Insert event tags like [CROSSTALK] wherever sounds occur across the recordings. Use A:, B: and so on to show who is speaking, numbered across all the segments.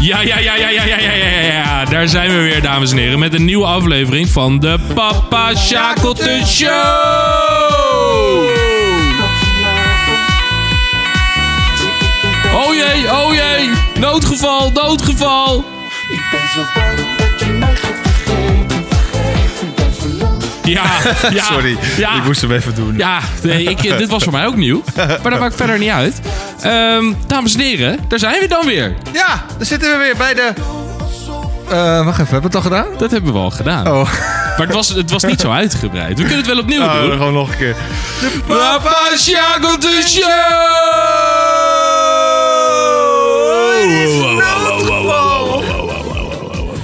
A: ja, ja, ja, ja, ja, ja, ja, ja, ja. Daar zijn we weer, dames en heren, met een nieuwe aflevering van de Papa Shackleton Show! Oh jee, oh jee, noodgeval, noodgeval!
B: Ik ben zo bang dat je mij gaat vergeten. Vergeten, ben verlamd.
A: Ja,
C: [LAUGHS]
A: ja,
C: Sorry,
A: ja.
C: ik moest hem even doen.
A: Ja, nee, ik, eh, dit was voor mij ook nieuw. Maar dat maakt verder niet uit. Ehm, dames en heren, daar zijn we dan weer.
C: Ja, daar zitten we weer bij de... Eh, wacht even, hebben we het al gedaan?
A: Dat hebben we al gedaan.
C: Oh,
A: Maar het was, het was niet zo uitgebreid. We kunnen het wel opnieuw
C: Nou,
A: doen.
C: gewoon nog een keer.
A: Papa Sjakel de Show!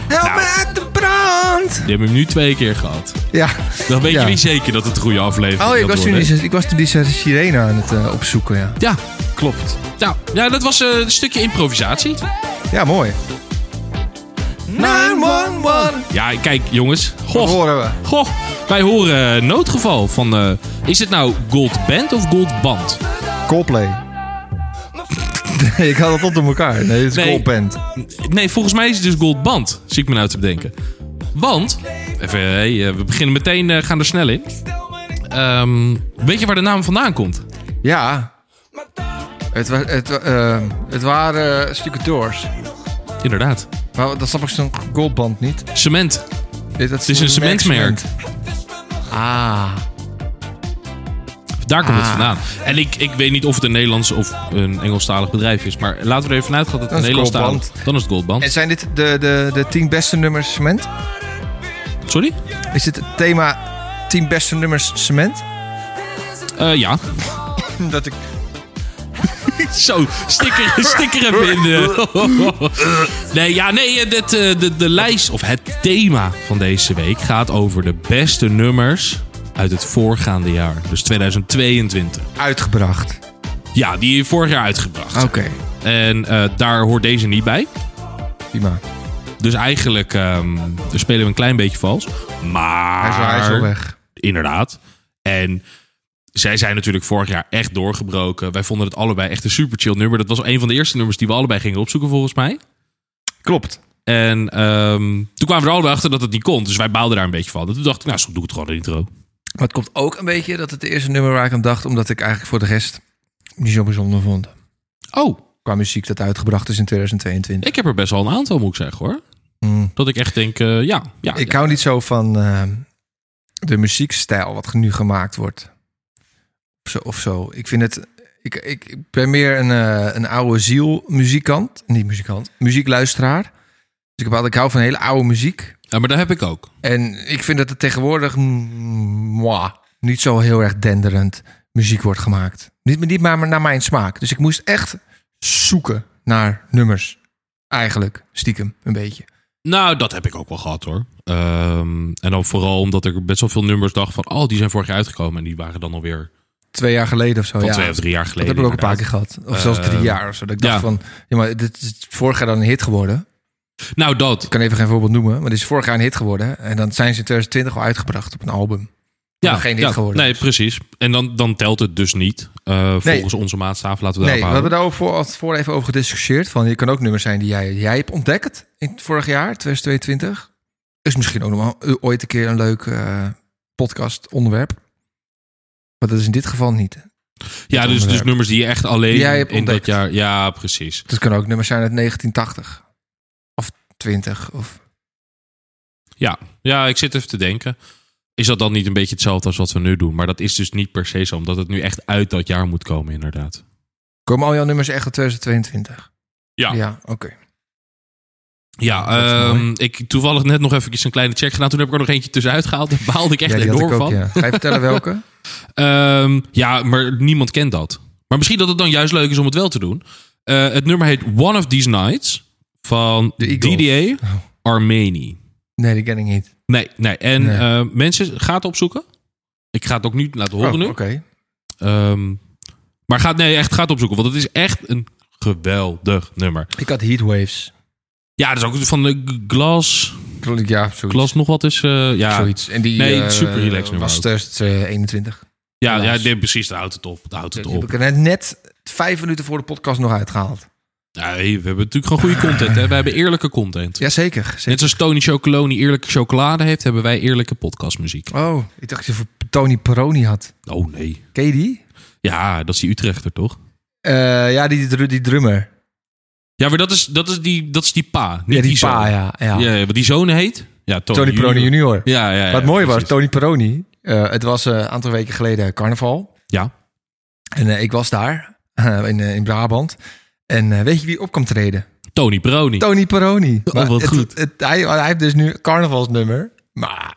C: Help me uit de brand!
A: Je hebt hem nu twee keer gehad.
C: Ja.
A: Dan weet
C: Ja.
A: je niet zeker dat het een goede aflevering
C: Oh, ik
A: gaat
C: was, toen
A: worden.
C: die, ik was toen die sirene aan het eh, opzoeken, ja.
A: Ja,
C: Klopt.
A: nou, ja, dat was eh, een stukje improvisatie.
C: Ja, mooi. 911!
A: Ja, kijk jongens.
C: Dat
A: Goh,
C: horen we.
A: goh. Wij horen eh, noodgeval van... eh, is het nou Gold Band of Gold Band?
C: Coldplay. [LAUGHS] Nee, ik had het op door elkaar. Nee, het is
A: Nee.
C: Coldband.
A: Nee, volgens mij is het dus Gold Band, zie ik me nou te bedenken. Want, even, hey, eh, we beginnen meteen, eh, gaan er snel in. Ehm, weet je waar de naam vandaan komt?
C: Ja. Het, wa- het, wa- eh, het waren eh, stukken doors.
A: Inderdaad.
C: Maar dat snap ik zo'n goldband niet.
A: Cement.
C: Dit- Dat
A: Het is een
C: merk
A: cementmerk.
C: Ah.
A: Daar komt het
C: Ah.
A: vandaan. En ik, ik weet niet of het een Nederlands of een Engelstalig bedrijf is. Maar laten we er even vanuit gaan dat het
C: Dan
A: een
C: is het
A: Nederlands Dan is het
C: En
A: Goldband.
C: zijn dit de, de, de 10 beste nummers cement?
A: Sorry?
C: Is dit het thema 10 beste nummers cement? Hm,
A: Eh, ja.
C: Dat ik...
A: Zo,
C: [LAUGHS]
A: sticker, sticker even in. de- Nee, ja, nee, eh, dit, eh, de, de lijst of het thema van deze week gaat over de beste nummers uit het voorgaande jaar. Dus 2022.
C: Uitgebracht.
A: Ja, die is vorig jaar uitgebracht.
C: Oké.
A: En eh, daar hoort deze niet bij.
C: Prima.
A: Dus eigenlijk ehm, daar spelen we een klein beetje vals. Maar...
C: Hij is, al- hij is al weg.
A: Inderdaad. En zij zijn natuurlijk vorig jaar echt doorgebroken. Wij vonden het allebei echt een super chill nummer. Dat was een van de eerste nummers die we allebei gingen opzoeken, volgens mij.
C: Klopt.
A: En ehm, toen kwamen we er allebei achter dat het niet kon. Dus wij baalden daar een beetje van. En toen dacht ik, nou, zo doe ik het gewoon in de intro.
C: Maar het komt ook een beetje dat het de eerste nummer waar ik aan dacht... omdat ik eigenlijk voor de rest niet zo bijzonder vond.
A: Oh,
C: Qua muziek dat uitgebracht is in 2022.
A: ik heb er best wel een aantal, moet ik zeggen hoor.
C: Mm.
A: Dat ik echt denk, eh, ja, ja.
C: Ik
A: ja.
C: hou niet zo van eh, de muziekstijl wat nu gemaakt wordt. Of zo. Of zo. Ik vind het. Ik, ik, ik ben meer een, eh, een oude ziel muzikant. Niet muzikant. Muziekluisteraar. Dus ik, heb, altijd- ik hou van hele oude muziek.
A: Ja, maar dat heb ik ook.
C: En ik vind dat er tegenwoordig mm, moi, niet zo heel erg denderend muziek wordt gemaakt. Niet, niet maar naar mijn smaak. Dus ik moest echt zoeken naar nummers. Eigenlijk stiekem een beetje.
A: Nou, dat heb ik ook wel gehad hoor. Ehm, en dan vooral omdat ik best wel veel nummers dacht van... oh, die zijn vorig jaar uitgekomen. En die waren dan alweer
C: Twee jaar geleden of zo.
A: van
C: Oh ja.
A: twee of drie jaar geleden.
C: Dat heb ik ook een paar
A: inderdaad.
C: keer gehad. Of zelfs drie
A: Eh,
C: jaar of zo. Dat ik dacht
A: ja.
C: van, ja, maar dit is vorig jaar dan een hit geworden.
A: Nou, dat.
C: Ik kan even geen voorbeeld noemen, maar dit is vorig jaar een hit geworden. En dan zijn ze in 2020 al uitgebracht op een album.
A: Ja,
C: nog geen hit geworden
A: Nee, precies. En dan, dan telt het dus niet. eh, volgens onze maatstaf laten we
C: nee,
A: daarop
C: we hebben
A: houden.
C: daar al voor, al voor even over gediscussieerd. Van, je kan ook nummers zijn die jij, jij hebt ontdekt in het vorig jaar, 2022. Is misschien ook nog wel, eh, ooit een keer een leuk eh, podcast onderwerp. Maar dat is in dit geval niet.
A: Ja, dus, dus
C: onderwerp.
A: nummers die je echt alleen
C: Die jij hebt
A: in dat
C: ontdekt.
A: jaar... Ja, precies.
C: Het kan ook nummers zijn uit 1980. Of 20. Of...
A: Ja. ja, ik zit even te denken. Is dat dan niet een beetje hetzelfde als wat we nu doen? Maar dat is dus niet per se zo, omdat het nu echt uit dat jaar moet komen, inderdaad.
C: Komen al jouw nummers echt uit 2022?
A: Ja.
C: Ja, oké.
A: Ja,
C: Dat is
A: ehm,
C: mooi.
A: ik toevallig net nog even een kleine check gedaan. Toen heb ik er nog eentje tussenuit gehaald. Daar baalde ik echt
C: Ja, die had
A: enorm
C: ik ook,
A: van.
C: ja. Ga je vertellen welke?
A: Ehm, ja, maar niemand kent dat. Maar misschien dat het dan juist leuk is om het wel te doen. Eh, het nummer heet One of These Nights van
C: De Eagles. Oh.
A: DDA Armeni.
C: [LAUGHS] Nee, die ken ik niet.
A: Nee, nee. En
C: Nee.
A: eh, mensen, ga het opzoeken. Ik ga het ook niet laten horen
C: Oh,
A: nu.
C: Oké.
A: Ehm, maar gaat, nee, echt, ga het opzoeken. Want het is echt een geweldig nummer.
C: Ik had Heatwaves.
A: Ja, dat is ook van de Glas.
C: Ja, zoiets.
A: Glas nog wat is. eh, ja,
C: zoiets. En die
A: Nee,
C: eh,
A: super relaxed nummer
C: was
A: ook.
C: 2021.
A: ja, ja
C: helaas.
A: dit, precies. Daar houdt het op. Daar houdt het
C: Die heb
A: op.
C: ik er net vijf minuten voor de podcast nog uitgehaald.
A: Nee, we hebben natuurlijk gewoon goede content. Hè? We hebben eerlijke content.
C: Jazeker. zeker.
A: Net zoals Tony Chocoloni eerlijke chocolade heeft, hebben wij eerlijke podcastmuziek.
C: Oh, ik dacht dat je voor Tony Peroni had.
A: Oh nee.
C: Ken je die?
A: Ja, dat is die Utrechter toch?
C: Eh, ja, die, dru- die drummer.
A: Ja, maar dat is, dat is, die, dat is die pa. Niet
C: Ja, die,
A: zoon.
C: pa, ja. ja.
A: Ja, wat die zoon heet? Ja, Tony,
C: Tony Peroni junior.
A: Ja, ja, ja,
C: Wat mooi was,
A: precies.
C: Tony Peroni. eh, het was eh, een aantal weken geleden carnaval.
A: Ja.
C: En eh, ik was daar eh, in, eh, in Brabant. En eh, weet je wie op kwam treden?
A: Tony Peroni.
C: Tony Peroni.
A: Oh,
C: Maar
A: wat
C: het-
A: goed.
C: het- hij, hij heeft dus nu een carnavalsnummer. Maar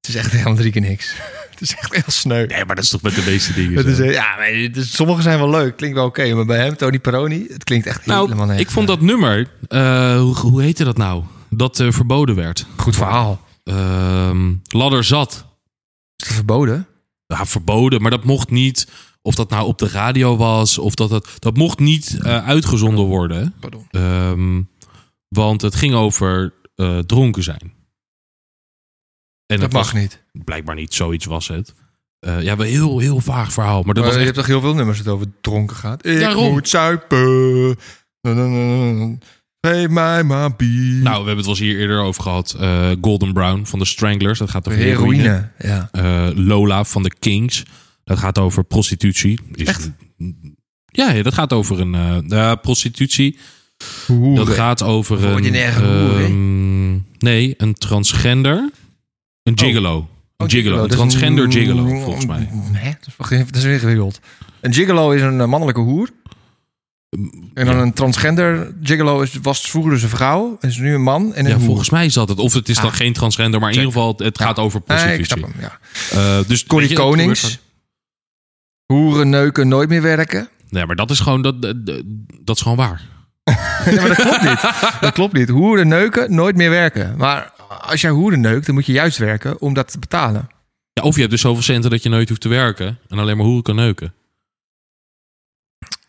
C: het is echt helemaal drie keer niks. [LAUGHS] Het is echt heel sneu.
A: Nee, maar dat is toch met de meeste dingen.
C: Het
A: zo.
C: is, eh, ja, maar het is- sommige zijn wel leuk. Klinkt wel oké. maar bij hem, Tony Peroni, het klinkt echt helemaal
A: nou,
C: niks.
A: ik vond dat nummer, eh, hoe, hoe heette dat nou? Dat eh, verboden werd.
C: Goed verhaal.
A: Ehm, ladder zat.
C: Is dat verboden?
A: ja, verboden, maar dat mocht niet. Of dat nou op de radio was, of dat dat, dat mocht niet eh, uitgezonden worden.
C: Pardon.
A: Ehm, want het ging over eh, dronken zijn. En
C: Dat,
A: het
C: mag niet.
A: was blijkbaar niet, zoiets was het. Eh ja, wel heel, heel vaag verhaal. Maar dat
C: Maar
A: was
C: je
A: echt,
C: hebt toch heel veel nummers dat over dronken gaat? Ik
A: Daarom.
C: moet zuipen. Na, na, na, na, na. Geef mij maar bier.
A: nou, we hebben het wel eens hier eerder over gehad. Eh, Golden Brown van de Stranglers, dat gaat over heroïne.
C: heroïne. Ja.
A: Eh, Lola van de Kings, dat gaat over prostitutie. Is
C: Echt?
A: Ja, ja, dat gaat over een eh, eh, prostitutie. Dat
C: Hoeren.
A: gaat over
C: Voor
A: een...
C: die nergens hoeren.
A: ehm, nee, een transgender. Een gigolo. Een
C: Oh,
A: gigolo. Een
C: dat is een-
A: transgender gigolo, volgens mij.
C: Hè? Dat is- wacht even, Dat is weer ingewikkeld. Een gigolo is een eh, mannelijke hoer. En dan
A: ja.
C: een transgender gigolo is, was vroeger dus een vrouw. En is nu een man en een
A: Ja,
C: hoer.
A: volgens mij is dat het. Of het is dan
C: Ah.
A: geen transgender, maar in
C: Check.
A: ieder geval het
C: Ja.
A: gaat over
C: Nee, Ah, ik
A: prostitutie.
C: snap hem, ja.
A: Eh, dus
C: Corrie
A: weet je, dat
C: Konings.
A: gebeurt
C: Hoeren neuken nooit meer werken.
A: gewoon- Nee, maar dat is gewoon, dat, dat, dat is gewoon waar.
C: [LAUGHS] Ja, maar dat klopt niet. Dat klopt niet. Hoeren neuken, nooit meer werken. Maar als jij hoeren neukt, dan moet je juist werken om dat te betalen.
A: Ja, of je hebt dus zoveel centen dat je nooit hoeft te werken en alleen maar hoeren kan neuken.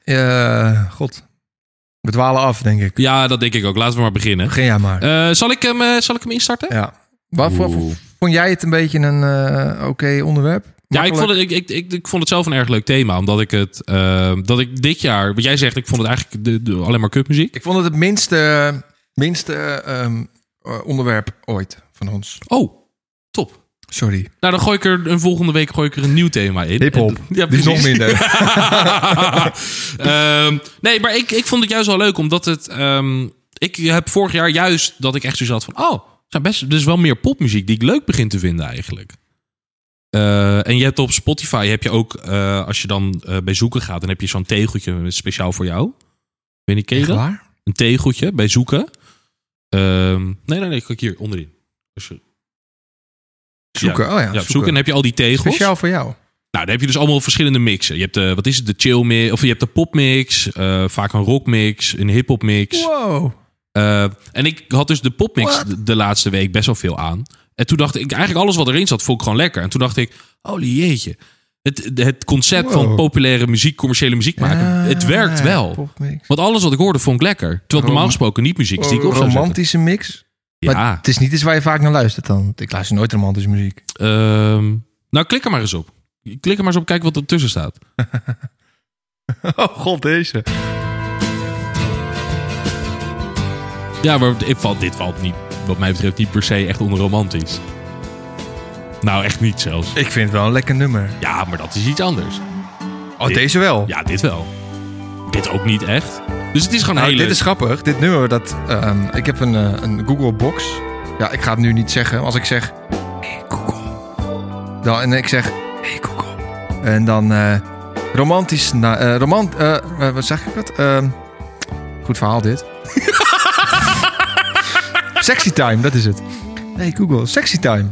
C: Eh, god. We dwalen af, denk ik.
A: Ja, dat denk ik ook. Laten we maar beginnen.
C: Begin jij maar.
A: Eh, zal, ik hem, eh, zal ik hem instarten?
C: ja. Wat wat-
A: Oeh.
C: vond jij het een beetje een eh, oké onderwerp?
A: Ja, ik
C: Makkelijk?
A: vond, het, ik, ik, ik, ik vond het zelf een erg leuk thema. Omdat ik het. eh, dat ik dit jaar. Wat jij zegt, ik vond het eigenlijk de, de- alleen maar cupmuziek.
C: ik vond het het minste, minste ehm, eh, onderwerp ooit van ons.
A: Oh, top.
C: Sorry.
A: Nou, dan gooi ik er een volgende week gooi ik er een nieuw thema in.
C: Hip-hop.
A: En- Ja,
C: Die is
A: precies.
C: nog
A: [LAUGHS]
C: minder.
A: Ehm, nee, maar ik, ik vond het juist wel leuk. Omdat het. ehm, ik heb vorig jaar juist dat ik echt zo zat van. Oh, er zijn best. Er is wel meer popmuziek die ik leuk begin te vinden eigenlijk. Eh, en je hebt op Spotify heb je ook, eh, als je dan eh, bij zoeken gaat, dan heb je zo'n tegeltje speciaal voor jou. Weet niet, ken je
C: Echt
A: dat?
C: waar?
A: een tegeltje bij zoeken. Ehm, nee, nee, nee, kijk hier onderin. Als je,
C: Zoeken. oh ja,
A: ja, op
C: zoeken.
A: zoeken. Dan heb je al die tegels.
C: Speciaal voor jou.
A: Nou, dan heb je dus allemaal verschillende mixen. Je hebt de, wat is het, de chill mix, of je hebt de popmix, eh, vaak een rockmix, een hip-hop mix.
C: Wow.
A: Eh, en ik had dus de popmix
C: What?
A: de, de laatste week best wel veel aan. En toen dacht ik, eigenlijk alles wat erin zat, vond ik gewoon lekker. En toen dacht ik, holy jeetje. Het, het concept
C: Wow.
A: van populaire muziek, commerciële muziek maken,
C: Ja,
A: het werkt wel.
C: popmix.
A: Want alles wat ik hoorde, vond ik lekker. Terwijl het normaal
C: Rom-
A: gesproken niet muziek is die ik op zou zetten.
C: Romantische mix.
A: Ja.
C: Maar het is niet iets waar je vaak naar luistert dan. Ik luister nooit romantische muziek.
A: Ehm, nou, klik er maar eens op. Klik er maar eens op, kijk wat er tussen staat.
C: [LAUGHS] Oh god, deze.
A: Ja, maar dit valt, dit valt niet, wat mij betreft, niet per se echt onromantisch. Nou, echt niet zelfs.
C: Ik vind het wel een lekker nummer.
A: Ja, maar dat is iets anders.
C: Oh,
A: Dit-
C: deze wel.
A: Ja, dit wel. Dit ook niet echt. Dus het is gewoon
C: Nou,
A: heel
C: dit
A: leuk.
C: is grappig. Dit nummer, dat, ehm, ik heb een, eh, een Google Box. Ja, ik ga het nu niet zeggen. maar Als ik zeg, hey Google. Dan, en ik zeg, hey Google. En dan eh, romantisch, na, eh, romant, eh, eh, wat zeg ik dat? Ehm, goed verhaal dit. [LAUGHS] sexy time, dat is het. Hey Google, sexy time.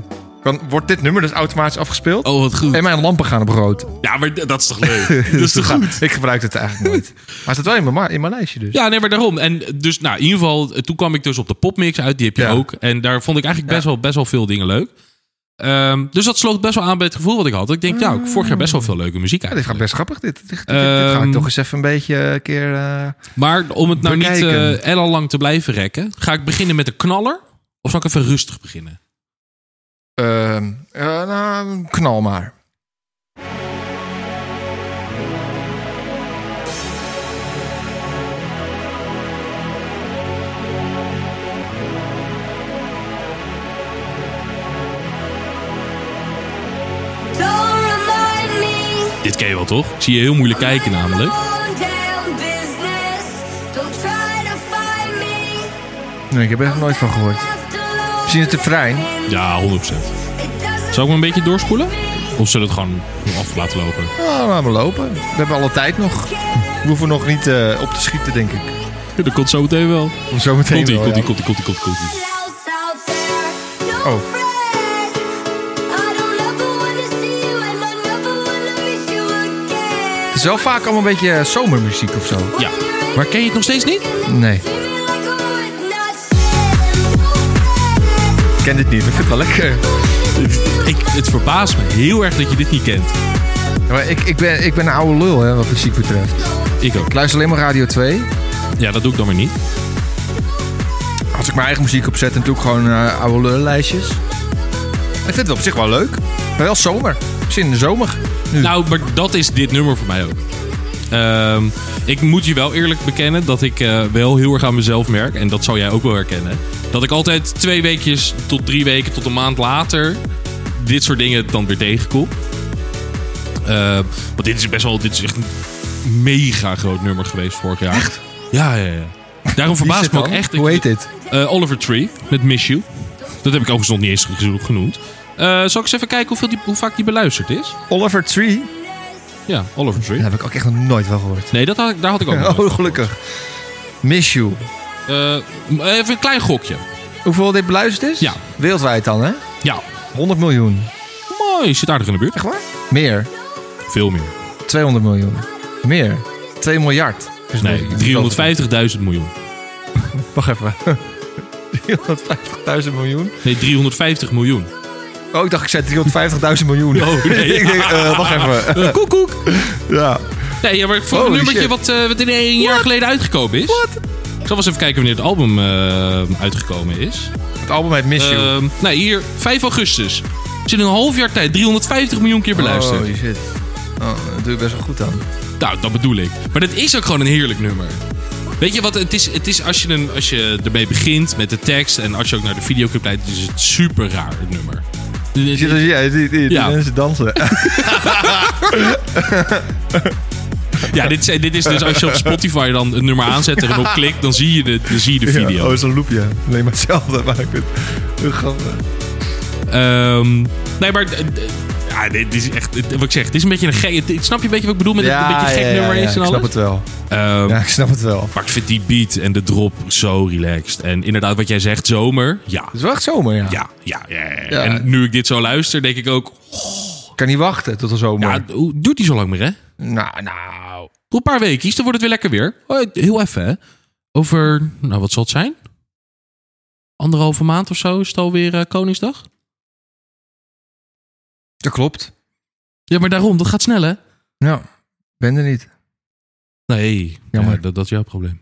C: Dan wordt dit nummer dus automatisch afgespeeld.
A: Oh, wat goed.
C: En mijn lampen gaan op rood.
A: Ja, maar d- dat is toch
C: [LAUGHS]
A: leuk? dat is toch
C: Ja,
A: goed?
C: Ik gebruik het eigenlijk nooit. Maar het staat wel in mijn, ma- in mijn lijstje dus.
A: Ja, nee, maar daarom. En dus, nou, in ieder geval, eh, toen kwam ik dus op de popmix uit. Die heb je
C: Ja.
A: ook. En daar vond ik eigenlijk best, wel, best wel veel dingen leuk. Ehm, dus dat sloot best wel aan bij het gevoel wat ik had. Ik denk, ja, ik vorig jaar best wel veel leuke muziek
C: Ja, dit
A: eigenlijk.
C: gaat best grappig. Dit, dit, dit- dit ga
A: Ehm,
C: ik toch eens even een beetje eh, een keer. eh,
A: Maar om het nou niet
C: Bekijken.
A: eh ellenlang te blijven rekken, ga ik beginnen met een knaller? Of zal ik even rustig beginnen?
C: ehm, eh, nou, knal maar.
A: Dit ken je wel, toch? Ik zie je heel moeilijk kijken namelijk.
C: Nee, ik heb er echt nooit van gehoord. Misschien is het te vrij.
A: Ja, 100%. Zou ik me een beetje doorspoelen?
C: Hm.
A: Of zullen we het gewoon af laten lopen?
C: Nou, laten we lopen. We hebben alle tijd nog. We hoeven nog niet eh, op te schieten, denk ik.
A: Ja, dat komt zo meteen wel.
C: Zometeen
A: Komt-ie,
C: wel,
A: komt-ie,
C: ja.
A: komt-ie, komt-ie, komt-ie, komt-ie.
C: Oh. Het is wel vaak allemaal een beetje eh, zomermuziek of zo.
A: Ja. Maar ken je het nog steeds niet?
C: Nee. Ik ken dit niet, maar ik vind het wel lekker.
A: Ik, het verbaast me heel erg dat je dit niet kent.
C: Maar ik, ik, ben, ik ben een oude lul, hè, wat muziek betreft.
A: Ik ook.
C: Ik luister alleen maar Radio 2.
A: Ja, dat doe ik dan weer niet.
C: Als ik mijn eigen muziek opzet, dan doe ik gewoon eh, oude lullijstjes. Ik vind het op zich wel leuk. Maar wel zomer. Zin in de zomer. Nu.
A: Nou, maar dat is dit nummer voor mij ook. Ehm, ik moet je wel eerlijk bekennen dat ik eh, wel heel erg aan mezelf merk. En dat zou jij ook wel herkennen. Dat ik altijd twee weekjes tot drie weken tot een maand later dit soort dingen dan weer tegenkom. Eh, want dit is best wel, dit is echt een mega groot nummer geweest vorig jaar. Echt? Ja, ja, ja. Daarom
C: Wie is
A: verbaast
C: dit
A: me ook
C: dan?
A: echt.
C: Hoe heet dit?
A: Eh, Oliver Tree met Miss You. Dat heb ik overigens nog niet eens geno- genoemd. Eh, zal ik eens even kijken hoeveel die, hoe vaak die beluisterd is?
C: Oliver Tree.
A: Ja, Oliver Tree.
C: Dat heb ik ook echt nog nooit wel gehoord.
A: Nee, dat had, ik- daar had ik ook nog nooit
C: [LAUGHS] Oh, gelukkig. Miss You.
A: van. Eh, even een klein gokje.
C: Hoeveel dit beluisterd is?
A: Ja.
C: Wereldwijd dan, hè?
A: Ja,
C: 100 miljoen.
A: mooi. Je zit aardig in de buurt.
C: Echt waar? Meer.
A: Veel meer.
C: 200 miljoen. Meer. 2 miljard. Dus
A: Nee,
C: nog-
A: 350.000 miljoen.
C: Wacht even. [LAUGHS] 350.000 miljoen?
A: Nee, 350 miljoen.
C: Oh, ik dacht ik zei 350.000 miljoen.
A: [LAUGHS] Oh, nee.
C: [LAUGHS] ik denk, eh, wacht even.
A: [LAUGHS] Eh, koek, koek.
C: Ja.
A: Nee, ja, maar voor een
C: Holy
A: nummertje
C: shit.
A: wat, eh, wat in een jaar geleden uitgekomen is. Wat? Ik zal wel eens even kijken wanneer het album eh, uitgekomen is.
C: Het album heet Miss You.
A: Ehm, nou, hier, 5 augustus. Is in een half jaar tijd 350 miljoen keer beluisterd.
C: Holy shit. Oh, dat doe je best wel goed dan.
A: Nou, dat bedoel ik. Maar dat is ook gewoon een heerlijk nummer. Weet je wat, het is, het is als, je een, als je ermee begint met de tekst en als je ook naar de videoclip kijkt, is het super raar het nummer.
C: Je ziet als ja, die, die- die
A: Ja.
C: mensen dansen.
A: Ja, dit is, dit is dus als je op Spotify dan het nummer aanzet en erop klikt, dan zie je de, dan zie je de
C: Ja,
A: video.
C: oh, zo'n loopje. Nee, maar hetzelfde. Maar ik vind het heel grappig.
A: Ehm, nee, maar. eh, eh, Ja, dit is echt. dit- Wat ik zeg, dit is een beetje een gek. het- Snap je een beetje wat ik bedoel met dat het een beetje een gek nummer is en
C: ik
A: alles?
C: snap het wel.
A: Ehm,
C: Ja, ik snap het wel.
A: Maar ik vind die beat en de drop zo relaxed. En inderdaad, wat jij zegt, zomer. Ja.
C: Het is wel echt zomer, ja.
A: Ja, ja, ja, ja.
C: Ja.
A: En nu ik dit zo luister, denk ik ook...
C: Ik kan niet wachten tot de zomer.
A: Ja, hoe duurt die zo lang meer, hè?
C: Nou, nou.
A: Nog een paar weekjes, dan wordt het weer lekker weer. Oh, Heel even, hè? Over, nou, wat zal het zijn? Anderhalve maand of zo is het alweer eh, Koningsdag?
C: Dat klopt.
A: Ja, maar daarom, dat gaat snel, hè?
C: Ja, ben er niet.
A: Nee,
C: Jammer.
A: ja, dat, dat is jouw [LAUGHS] probleem.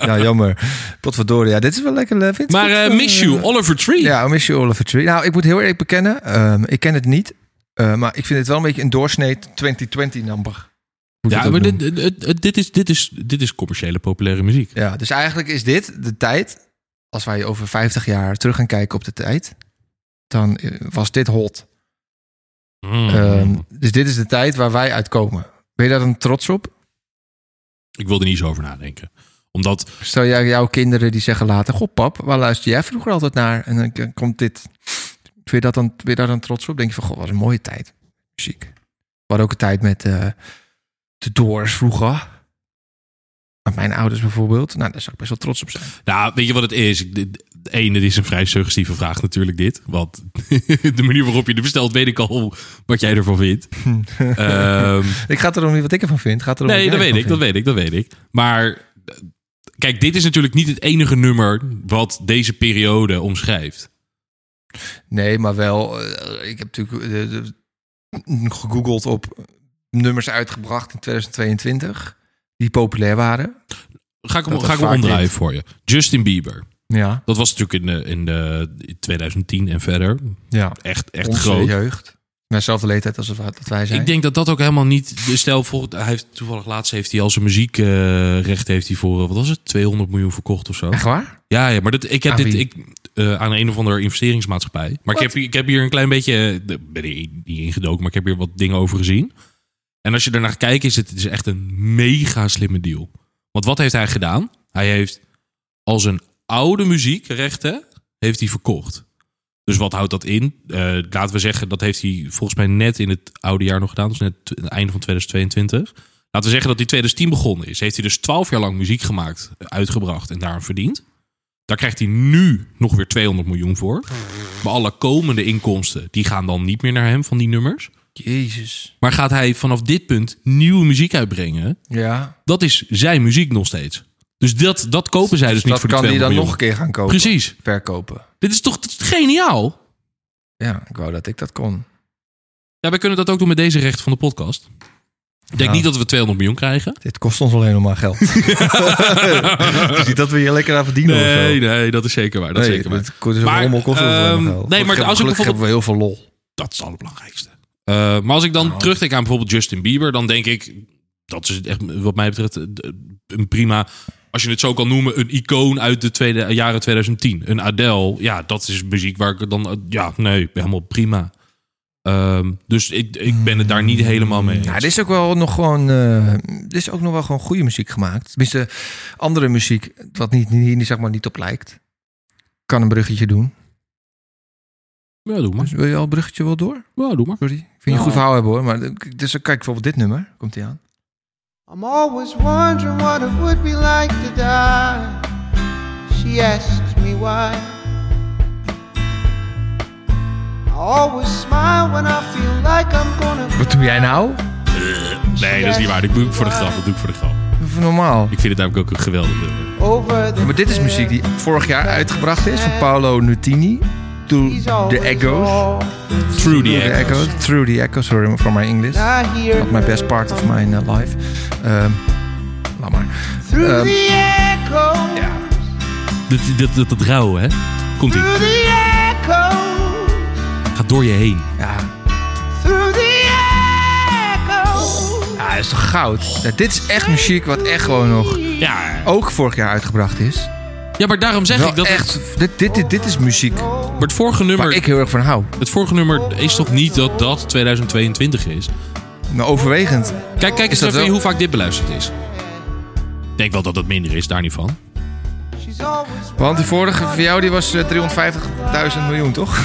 C: Ja, jammer. [LAUGHS] Potverdorie. Ja, dit is wel lekker. eh, vind-
A: maar
C: vind-
A: eh, Miss You, Oliver Tree.
C: Ja, Miss You Oliver Tree. Nou, ik moet heel eerlijk bekennen. ehm, ik ken het niet. eh, maar ik vind het wel een beetje een doorsnee 2020-number.
A: Ja, maar dit, dit, dit- dit is, dit, is, dit is commerciële populaire muziek.
C: Ja, dus eigenlijk is dit de tijd. Als wij over 50 jaar terug gaan kijken op de tijd. Dan eh, was dit hot.
A: Mm.
C: Ehm, dus dit is de tijd waar wij uitkomen. Ben je daar dan trots op?
A: Ik wil er niet zo over nadenken. Omdat,
C: Stel jij jouw kinderen die zeggen later: Goh, pap, waar luister jij vroeger altijd naar? En dan k- komt dit. Ben je, dat dan, ben je daar dan trots op? Denk je van: Goh, wat een mooie tijd. Muziek. We hadden ook een tijd met eh, de Doors vroeger. Met mijn ouders bijvoorbeeld. Nou, daar zou ik best wel trots op zijn.
A: nou, weet je wat het is? Ik- dit- Eén, het is een vrij suggestieve vraag natuurlijk dit. Want [LAUGHS] de manier waarop je het bestelt, weet ik al wat jij ervan
C: [LAUGHS]
A: vindt. Ehm,
C: Ik ga het erom niet wat ik ervan vind. Gaat erom
A: nee,
C: wat
A: dat
C: jij
A: weet
C: ervan
A: ik, dat weet ik, dat weet ik. Maar eh, kijk, dit is natuurlijk niet het enige nummer wat deze periode omschrijft.
C: vindt. Nee, maar wel. eh, ik heb natuurlijk eh, de- de- gegoogeld op nummers uitgebracht in 2022. Die populair waren.
A: Ga ik hem,
C: Dat
A: ga ik hem
C: vaak
A: omdraaien
C: dit.
A: voor je. Justin Bieber.
C: Ja,
A: Dat was natuurlijk in, de, in, de, in 2010 en verder
C: ja.
A: echt, echt
C: Onze
A: groot.
C: jeugd. Naar dezelfde leeftijd als wat dat wij zijn.
A: Ik denk dat dat ook helemaal niet. de Stel, voor, hij heeft toevallig laatst heeft hij al zijn eh, muziekrecht heeft hij voor eh, wat was het 200 miljoen verkocht of zo.
C: Echt waar?
A: Ja, ja maar dat, ik heb
C: Aan
A: dit.
C: wie?
A: Ik, eh, aan een of andere investeringsmaatschappij. Maar ik heb, hier- ik heb hier een klein beetje. eh, ben er niet ingedoken, maar ik heb hier wat dingen over gezien. En als je ernaar kijkt, is het, het is echt een mega slimme deal. Want wat heeft hij gedaan? Hij heeft als een oude muziekrechten heeft hij verkocht. Dus wat houdt dat in? Eh, laten we zeggen, dat heeft hij volgens mij net in het oude jaar nog gedaan. Dus net t- het einde van 2022. Laten we zeggen dat hij 2010 begonnen is. Heeft hij dus 12 jaar lang muziek gemaakt, eh, uitgebracht en daaraan verdiend. Daar krijgt hij nu nog weer 200 miljoen voor. Maar alle komende inkomsten, die gaan dan niet meer naar hem van die nummers.
C: Jezus.
A: Maar gaat hij vanaf dit punt nieuwe muziek uitbrengen?
C: Ja.
A: Dat is zijn muziek nog steeds. Dus dat, dat kopen zij dus, niet
C: dat
A: voor
C: kan
A: die
C: die
A: 200
C: dan
A: miljoen.
C: nog een keer gaan kopen.
A: Precies.
C: Verkopen.
A: Dit is toch dit is geniaal?
C: Ja, ik wou dat ik dat kon.
A: Ja, wij kunnen dat ook doen met deze recht van de podcast. Ik denk
C: Ja.
A: niet dat we 200 miljoen krijgen.
C: Dit kost ons alleen nog maar [LAUGHS] geld. dus niet dat we hier lekker aan verdienen of zo.
A: Nee, nee, dat is zeker waar. Dat is
C: nee,
A: zeker waar.
C: het kost- zo'n
A: Maar,
C: rommel kost ons alleen
A: ehm,
C: maar geld.
A: nee, maar
C: Gelukkig
A: als ik bijvoorbeeld-
C: hebben we heel veel lol.
A: Dat is het allerbelangrijkste. Eh, maar als ik dan terugdenk aan bijvoorbeeld Justin Bieber, dan denk ik, dat is echt wat mij betreft eh, d- een prima, als je het zo kan noemen, een icoon uit de tweede, jaren 2010. Een Adele, ja, dat is muziek waar ik dan, eh, ja, nee, helemaal prima. Ehm, dus ik, ik ben het daar niet helemaal mee. eens.
C: Ja, er is ook wel nog gewoon, eh, er is ook nog wel gewoon goede muziek gemaakt. Tenminste, andere muziek wat niet, niet, niet- zeg maar niet op lijkt. Kan een bruggetje doen.
A: Ja, doe maar.
C: Dus wil je al een bruggetje wel door?
A: Ja, doe maar.
C: Sorry. Ik vind je een goed verhaal hebben hoor. Maar eh, dus, kijk bijvoorbeeld dit nummer. Komt hij aan?
D: I'm always wondering what it would be like to die. She asks me why. I always smile when I feel like I'm gonna.
C: Wat doe jij nou?
A: Nee, dat is niet waar. Ik doe ik voor de grap. Dat doe ik voor de grap.
C: Even normaal.
A: Ik vind het namelijk ook een geweldig nummer.
D: Over the
C: Maar dit is muziek die vorig jaar uitgebracht is van Paolo Nutini. To
D: He's
C: the
D: always
C: Echoes.
D: off.
A: Through the
C: Through the
A: Echoes.
C: Echoes. Through the Echoes, sorry for my English.
D: I hear
C: Not my best part of my eh, life. Ehm, laat maar.
D: Through
C: ehm,
D: the echoes.
A: Dat, dat, dat, dat rauwe, hè? Komt ie.
C: Eh.
D: Through the echoes.
A: Gaat door je heen.
C: Ja,
D: Through the echoes.
C: Ja, dat is toch goud? Ja, dit is echt muziek wat echt gewoon nog
A: Ja,
C: ook vorig jaar uitgebracht is.
A: ja maar daarom zeg
C: Wel
A: ik dat...
C: echt, dit, dit, dit, dit is muziek
A: Maar het vorige nummer...
C: waar ik heel erg van hou.
A: Het vorige nummer is toch niet dat dat 2022 is?
C: Maar overwegend.
A: Kijk, kijk eens
C: dat
A: even
C: wel-
A: hoe vaak dit beluisterd is. Ik denk wel dat dat minder is, daar niet van. [LAUGHS]
D: She's always
C: Want die vorige van jou die was eh, 350.000 miljoen, toch?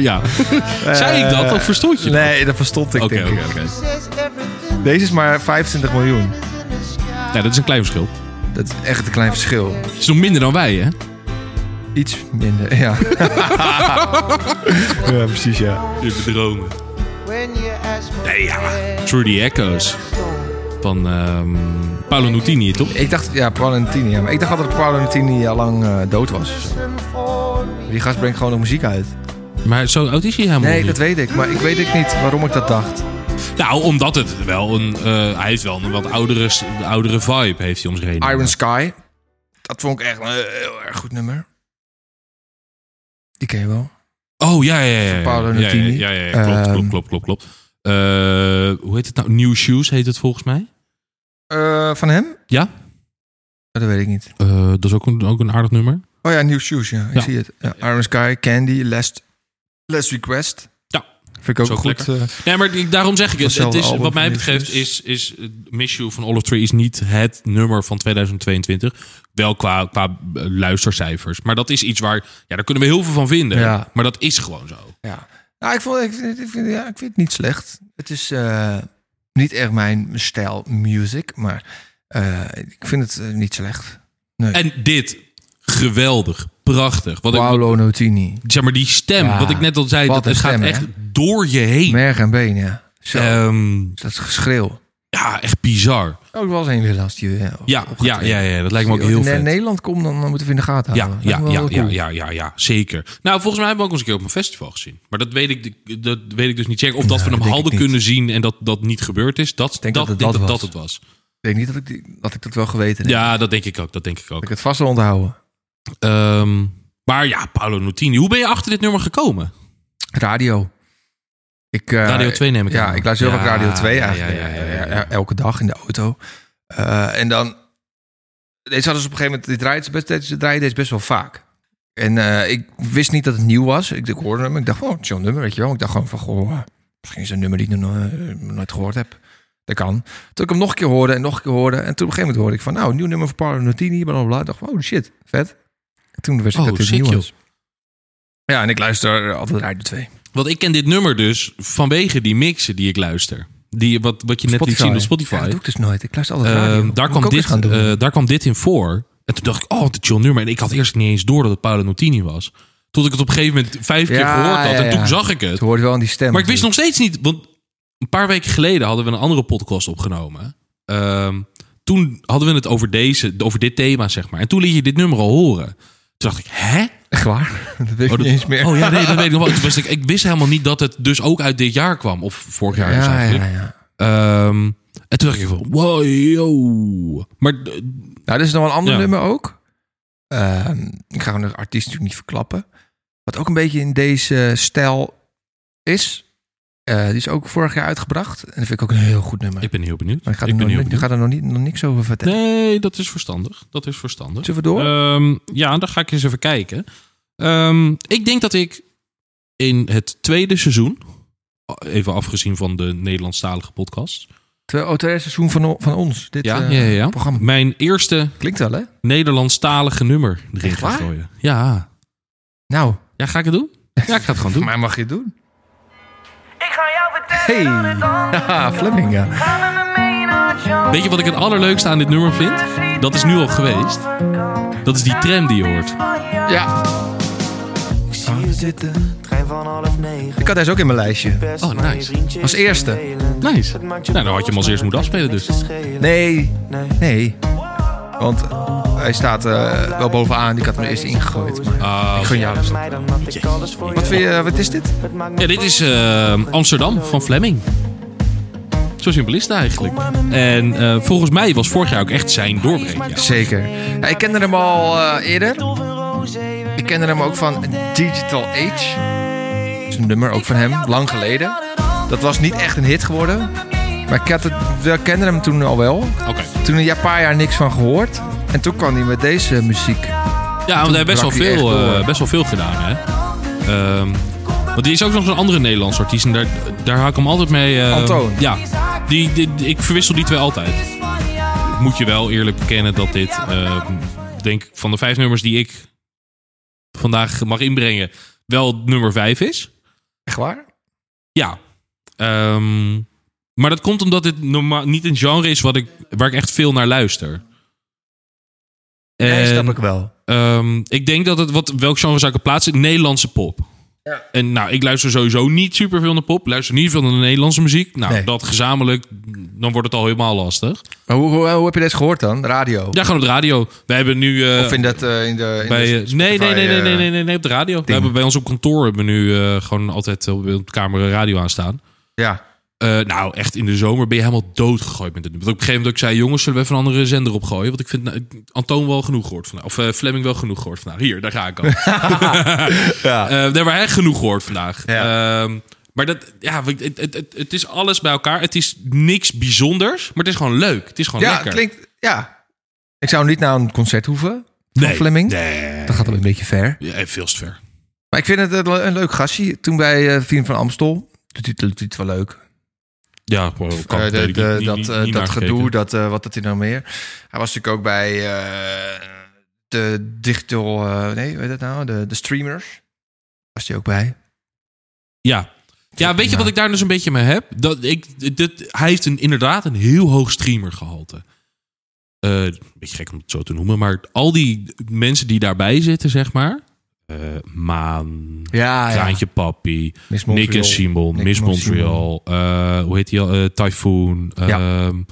A: ja.
C: [LAUGHS]
A: Zei ik dat? Dat verstond je.
C: Nee, dat verstond ik
A: Oké,
C: denk
A: oké,
C: ik.
A: oké.
D: says everything
C: Deze is maar 25 miljoen.
D: is in the sky.
A: Ja, Nou, dat is een klein verschil.
C: Dat is echt een klein verschil.
A: Het is nog minder dan wij, hè?
C: Iets minder, ja. [LAUGHS] ja, precies, ja.
A: Je bedromen.
D: When you ask for
A: Nee, ja. Through the Echoes van ehm Paolo Nutini, toch?
C: Ik dacht, ja, Paolo Nutini. Ja, maar ik dacht altijd dat Paolo Nutini al lang eh, dood was. Die gast brengt gewoon nog muziek uit.
A: Maar zo oud is hij helemaal
C: Nee,
A: niet.
C: dat weet ik. Maar ik weet ook niet waarom ik dat dacht.
A: Nou, omdat het wel een... eh, hij heeft wel een wat oudere, oudere vibe, heeft hij om zich heen.
C: Iron Sky. Dat vond ik echt een heel erg goed nummer. Die ken je wel.
A: Oh, ja, ja, ja. ja.
C: Paolo
A: Ja, ja,
C: Nutini.
A: Ja, ja, ja, klopt,
C: Ehm.
A: klopt, klopt, klopt, klopt. Eh, hoe heet het nou? New Shoes heet het volgens mij.
C: Eh, van hem?
A: Ja?
C: Oh, Dat weet ik niet.
A: Eh, dat is ook een, ook een aardig nummer.
C: Oh ja, New Shoes, ja. Ik
A: Ja.
C: zie het. Ja, Iron Sky, Candy, Last, last Request.
A: Ja.
C: Vind ik ook
A: Is ook
C: goed. eh,
A: Nee, maar ik- daarom zeg ik het. het
C: Hetzelfde
A: is,
C: album
A: wat mij
C: van
A: betreft
C: New Shoes.
A: is, is eh, Miss You van Olive Tree is niet het nummer van 2022. Wel qua, qua eh, luistercijfers. Maar dat is iets waar... Ja, daar kunnen we heel veel van vinden.
C: Ja.
A: Maar dat is gewoon zo.
C: ja. Nou, ik, vond, ik, vind- ik vind, ja, ik vind het niet slecht. Het is eh, niet echt mijn stijl music, maar eh, ik vind het eh, niet slecht.
A: En dit. Geweldig. Prachtig. Wat ik,
C: Paolo Nutini.
A: zeg maar, die stem.
C: Ja.
A: wat ik net al zei.
C: Wat
A: Dat, het
C: een
A: gaat
C: stem, hè?
A: echt door je heen.
C: Merg en been, ja. Zo,
A: Ehm,
C: dat geschreeuw.
A: ja, echt bizar.
C: Zou ik wel eens heen willen als die... eh,
A: Ja,
C: opgaat
A: ja,
C: weer.
A: ja, ja, dat lijkt me ook
C: Als die
A: heel
C: ooit
A: vet.
C: in Nederland komt, dan dan moeten we in de gaten
A: Ja,
C: houden.
A: ja,
C: Lijkt me wel
A: ja,
C: heel
A: ja,
C: cool.
A: ja, ja, ja, zeker. Nou, volgens mij hebben we ook eens een keer op een festival gezien. Maar dat weet ik, dat weet ik dus niet zeker. Of dat
C: Nou,
A: we hem
C: dat denk
A: hadden
C: ik niet.
A: kunnen zien en dat dat niet gebeurd is. Dat dat,
C: denk dat het
A: denk
C: dat
A: dat,
C: was.
A: dat het was.
C: Ik denk niet dat ik, die, dat ik dat wel geweten heb.
A: Ja, dat denk ik ook. Dat denk ik
C: Dat
A: ook.
C: ik het vast wil onthouden.
A: Ehm, maar ja, Paolo Nutini. Hoe ben je achter dit nummer gekomen?
C: Radio. Ik, eh,
A: Radio 2 neem ik
C: Ja,
A: aan.
C: ik luister heel
A: Ja,
C: vaak Radio 2
A: ja,
C: eigenlijk.
A: ja, ja, ja, ja, ja.
C: eh, Elke dag in de auto. Eh, en dan... Deze hadden ze op een gegeven moment... Dit draaiden ze best, deze draaiden deze best wel vaak. En eh, ik wist niet dat het nieuw was. Ik, ik hoorde hem. Ik dacht, oh, zo'n nummer, weet je wel. Ik dacht gewoon van, goh, eh, misschien is het een nummer die ik nog eh, nog nooit gehoord heb. Dat kan. Toen ik hem nog een keer hoorde en nog een keer hoorde. En toen op een gegeven moment hoorde ik van, nou, een nieuw nummer van Paolo Nutini. Bla, bla, bla. Ik dacht, wow, shit, vet. En toen wist ik
A: Oh,
C: dat dit
A: sick,
C: nieuw
A: joh.
C: was. Ja, en ik luister altijd naar de twee.
A: Want ik ken dit nummer dus vanwege die mixen die ik luister. Die, wat, wat je net liet
C: Spotify.
A: zien op
C: Ja, dat
A: Spotify.
C: doe ik dus nooit. Ik luister altijd radio.
A: Ehm,
C: Moet
A: daar,
C: ik
A: kwam
C: ook eens
A: dit,
C: gaan doen.
A: eh, daar kwam dit in voor. En toen dacht ik, oh, wat een chill nummer. En ik had eerst niet eens door dat het Paolo Nutini was. Tot ik het op een gegeven moment vijf keer
C: Ja,
A: gehoord had.
C: ja,
A: En
C: ja.
A: toen zag ik het.
C: Het hoort wel aan die stem.
A: Maar ik wist nog steeds niet, want een paar weken geleden hadden we een andere podcast opgenomen. Ehm, toen hadden we het over, deze, over dit thema, zeg maar. En toen liet je dit nummer al horen. Toen dacht ik, hè?
C: Echt
A: [LAUGHS]
C: waar? Dat weet ik
A: Oh, dat-
C: niet eens meer.
A: Oh ja, nee, dat weet ik nog wel. [LAUGHS] Toen wist ik, ik wist helemaal niet dat het dus ook uit dit jaar kwam. Of vorig jaar dus
C: ja,
A: eigenlijk.
C: ja, ja.
A: Ehm, en toen dacht ik van, wow, yo. Maar eh,
C: Nou, dit is nog wel een ander
A: Ja.
C: nummer ook. Ehm, ik ga gewoon de artiest natuurlijk niet verklappen. Wat ook een beetje in deze stijl is. eh, die is ook vorig jaar uitgebracht. En dat vind ik ook een heel goed nummer.
A: ik ben heel benieuwd.
C: maar ik ga er,
A: ik ben
C: nog,
A: heel
C: niet- ik
A: benieuwd.
C: ga er nog, niet, nog niks over vertellen.
A: Nee, dat is verstandig. Dat is verstandig.
C: Zullen we door?
A: Ehm, ja, dan ga ik eens even kijken. Ehm, ik denk dat ik in het tweede seizoen, even afgezien van de Nederlandstalige podcast,
C: Twee, oh, het tweede seizoen van, o- van ons. Dit
A: ja,
C: eh,
A: ja, ja, ja.
C: programma.
A: mijn eerste
C: Klinkt wel, hè?
A: Nederlandstalige nummer erin
C: Echt
A: gaan
C: waar?
A: gooien. Ja.
C: Nou,
A: ja, ga ik het doen? Ja, ik ga het gewoon
C: voor [LAUGHS]
A: doen.
C: mij mag je het doen.
E: Ik ga jou
C: Hey! [LAUGHS]
E: vertellen dat het anders
C: Haha, Fleming, ja.
E: Ga met me mee naar Joe.
A: Weet je wat ik het allerleukste aan dit nummer vind? Dat is nu al geweest. Dat is die tram die je hoort.
C: Ja,
F: Zie je zitten, trein van half negen.
C: ik had deze ook in mijn lijstje.
F: Best,
A: Oh,
F: maar je
A: nice.
F: vriendje
C: Als
F: is
C: eerste.
F: vervelend.
A: Nice.
F: Het
A: Nou,
F: maakt je
A: dan had je hem als
F: boos,
A: eerst
F: maar
A: moeten afspelen
F: het heeft
A: dus.
F: niks te schelen.
C: Nee,
F: Nee.
C: nee. Want hij staat eh, wel bovenaan. Ik had hem eerst ingegooid. Maar
A: Ah,
C: ik gun jou dus.
F: Mij dan had ik alles voor
C: Wat vind je, wat is dit?
F: Het maakt me
A: Ja, dit is eh, Amsterdam van Fleming. Zo simpel is het eigenlijk. En eh, volgens mij was vorig jaar ook echt zijn doorbreekjaar.
C: Zeker. Ja, ik kende hem al eh, eerder. Ik kende hem ook van Digital Age. Dat is een nummer ook van hem, lang geleden. Dat was niet echt een hit geworden. Maar ik had het, wel- kende hem toen al wel.
A: Oké.
C: Toen een paar jaar niks van gehoord. En toen kwam hij met deze muziek.
A: Ja, want hij heeft best wel,
C: brak hij
A: veel,
C: echt door.
A: eh, best wel veel gedaan, hè. Ehm, want die is ook nog zo'n andere Nederlands artiest. En daar, daar haal ik hem altijd mee... eh,
C: Antoon.
A: Ja. Die, die- die- ik verwissel die twee altijd. Moet je wel eerlijk bekennen dat dit... eh, denk ik van de vijf nummers die ik vandaag mag inbrengen... wel nummer vijf is.
C: Echt waar?
A: Ja. Ehm, maar dat komt omdat dit normaal niet een genre is wat ik, waar ik echt veel naar luister. En,
C: Nee, snap ik wel.
A: ehm, ik denk dat het, wat, welk genre zou ik er plaatsen? Nederlandse pop. En nou, ik luister sowieso niet superveel naar pop. Luister niet veel naar de Nederlandse muziek. Nou,
C: Nee.
A: dat gezamenlijk, dan wordt het al helemaal lastig.
C: Maar hoe, hoe, hoe heb je deze gehoord dan? Radio?
A: Ja, gewoon op de radio. We hebben nu... eh,
C: Of in dat eh, in de... In
A: bij,
C: de
A: eh, nee, nee, nee,
C: Spotify,
A: nee,
C: eh,
A: nee, nee, nee, nee, op de radio. We hebben bij ons op kantoor hebben we nu eh, gewoon altijd op de kamer een radio aanstaan.
C: Ja.
A: Eh, nou, echt in de zomer ben je helemaal doodgegooid met het nummer. Want op een gegeven moment ook zei, jongens, zullen we even een andere zender opgooien? Want ik vind nou, ik- Antoon wel genoeg gehoord vandaag. Of eh, Fleming wel genoeg gehoord vandaag. Hier, daar ga ik
C: [LAUGHS]
A: al. ja. daar hebben hij genoeg gehoord vandaag. Ehm, maar dat, ja, het, het, het, het is alles bij elkaar. Het is niks bijzonders, maar het is gewoon leuk. Het is gewoon
C: Ja,
A: Oh, lekker.
C: het klinkt... Ja. Ik zou niet naar een concert hoeven. Van
A: Nee,
C: Fleming.
A: Nee,
C: Dat gaat al een beetje ver.
A: Ja, eh, veel te ver.
C: Maar ik vind het een, le- een leuk gastje. Toen bij eh Vriend van Amstel. Doet hij het- doet hij het wel leuk.
A: Ja, maar ook kan
C: Eh,
A: het,
C: de-
A: weet ik
C: de-
A: niet,
C: dat
A: niet-
C: eh,
A: niet
C: dat
A: nagekeken.
C: gedoe, dat, eh, wat had hij nou meer? Hij was natuurlijk ook bij eh, de digital... eh, nee, hoe heet dat nou? De, de streamers. Was hij ook bij.
A: Ja. Ja, weet je
C: Ja.
A: wat ik daar dus een beetje mee heb? Dat ik, dit, hij heeft een, inderdaad een heel hoog streamergehalte. Eh, Een beetje gek om het zo te noemen, maar al die mensen die daarbij zitten, zeg maar. eh, Maan,
C: Ja,
A: Kraantje Papi,
C: Miss
A: Nick Ah, en
C: Montreal.
A: Simon,
C: Nick
A: Miss Montreal,
C: Montreal.
A: eh, hoe heet die al? Eh, Typhoon.
C: Ja.
A: ehm,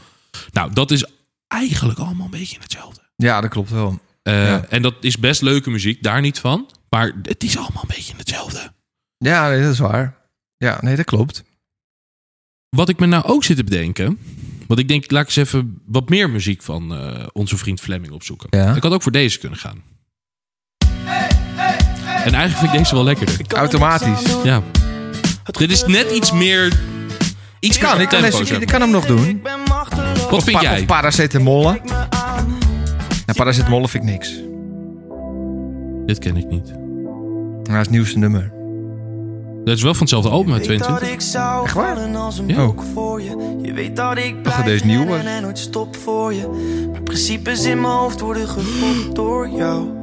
A: nou, dat is eigenlijk allemaal een beetje hetzelfde.
C: Ja, dat klopt wel.
A: Eh,
C: Ja.
A: En dat is best leuke muziek, daar niet van. Maar het is allemaal een beetje hetzelfde.
C: Ja, nee, dat is waar. Ja, nee, dat klopt.
A: Wat ik me nou ook zit te bedenken. Want ik denk, laat ik eens even wat meer muziek van eh, onze vriend Fleming opzoeken.
C: Ja.
A: Ik had ook voor deze kunnen gaan. En eigenlijk vind ik deze wel lekkerder.
C: Automatisch.
A: Ja. Dit is net iets meer. Iets
C: Ik kan,
A: meer
C: ik kan,
A: tempo,
C: deze-
A: zeg
C: ik
A: maar.
C: kan hem nog doen.
F: Ik ben machteloos.
A: Wat vind
C: Pa-
A: jij?
C: Of paracetamol. Nou, paracetamol vind ik niks.
A: Dit ken ik niet.
C: Dat is het nieuwste nummer.
A: Dat is wel van hetzelfde album uit
F: Weet dat
A: 22.
F: ik zou
C: Echt waar?
F: vallen als een
A: Ja.
F: blok voor je. Je weet dat ik blijf
C: deze is nieuw,
F: rennen
C: hoor.
F: en nooit stop voor je. Maar principes in mijn hoofd worden gevoed door jou.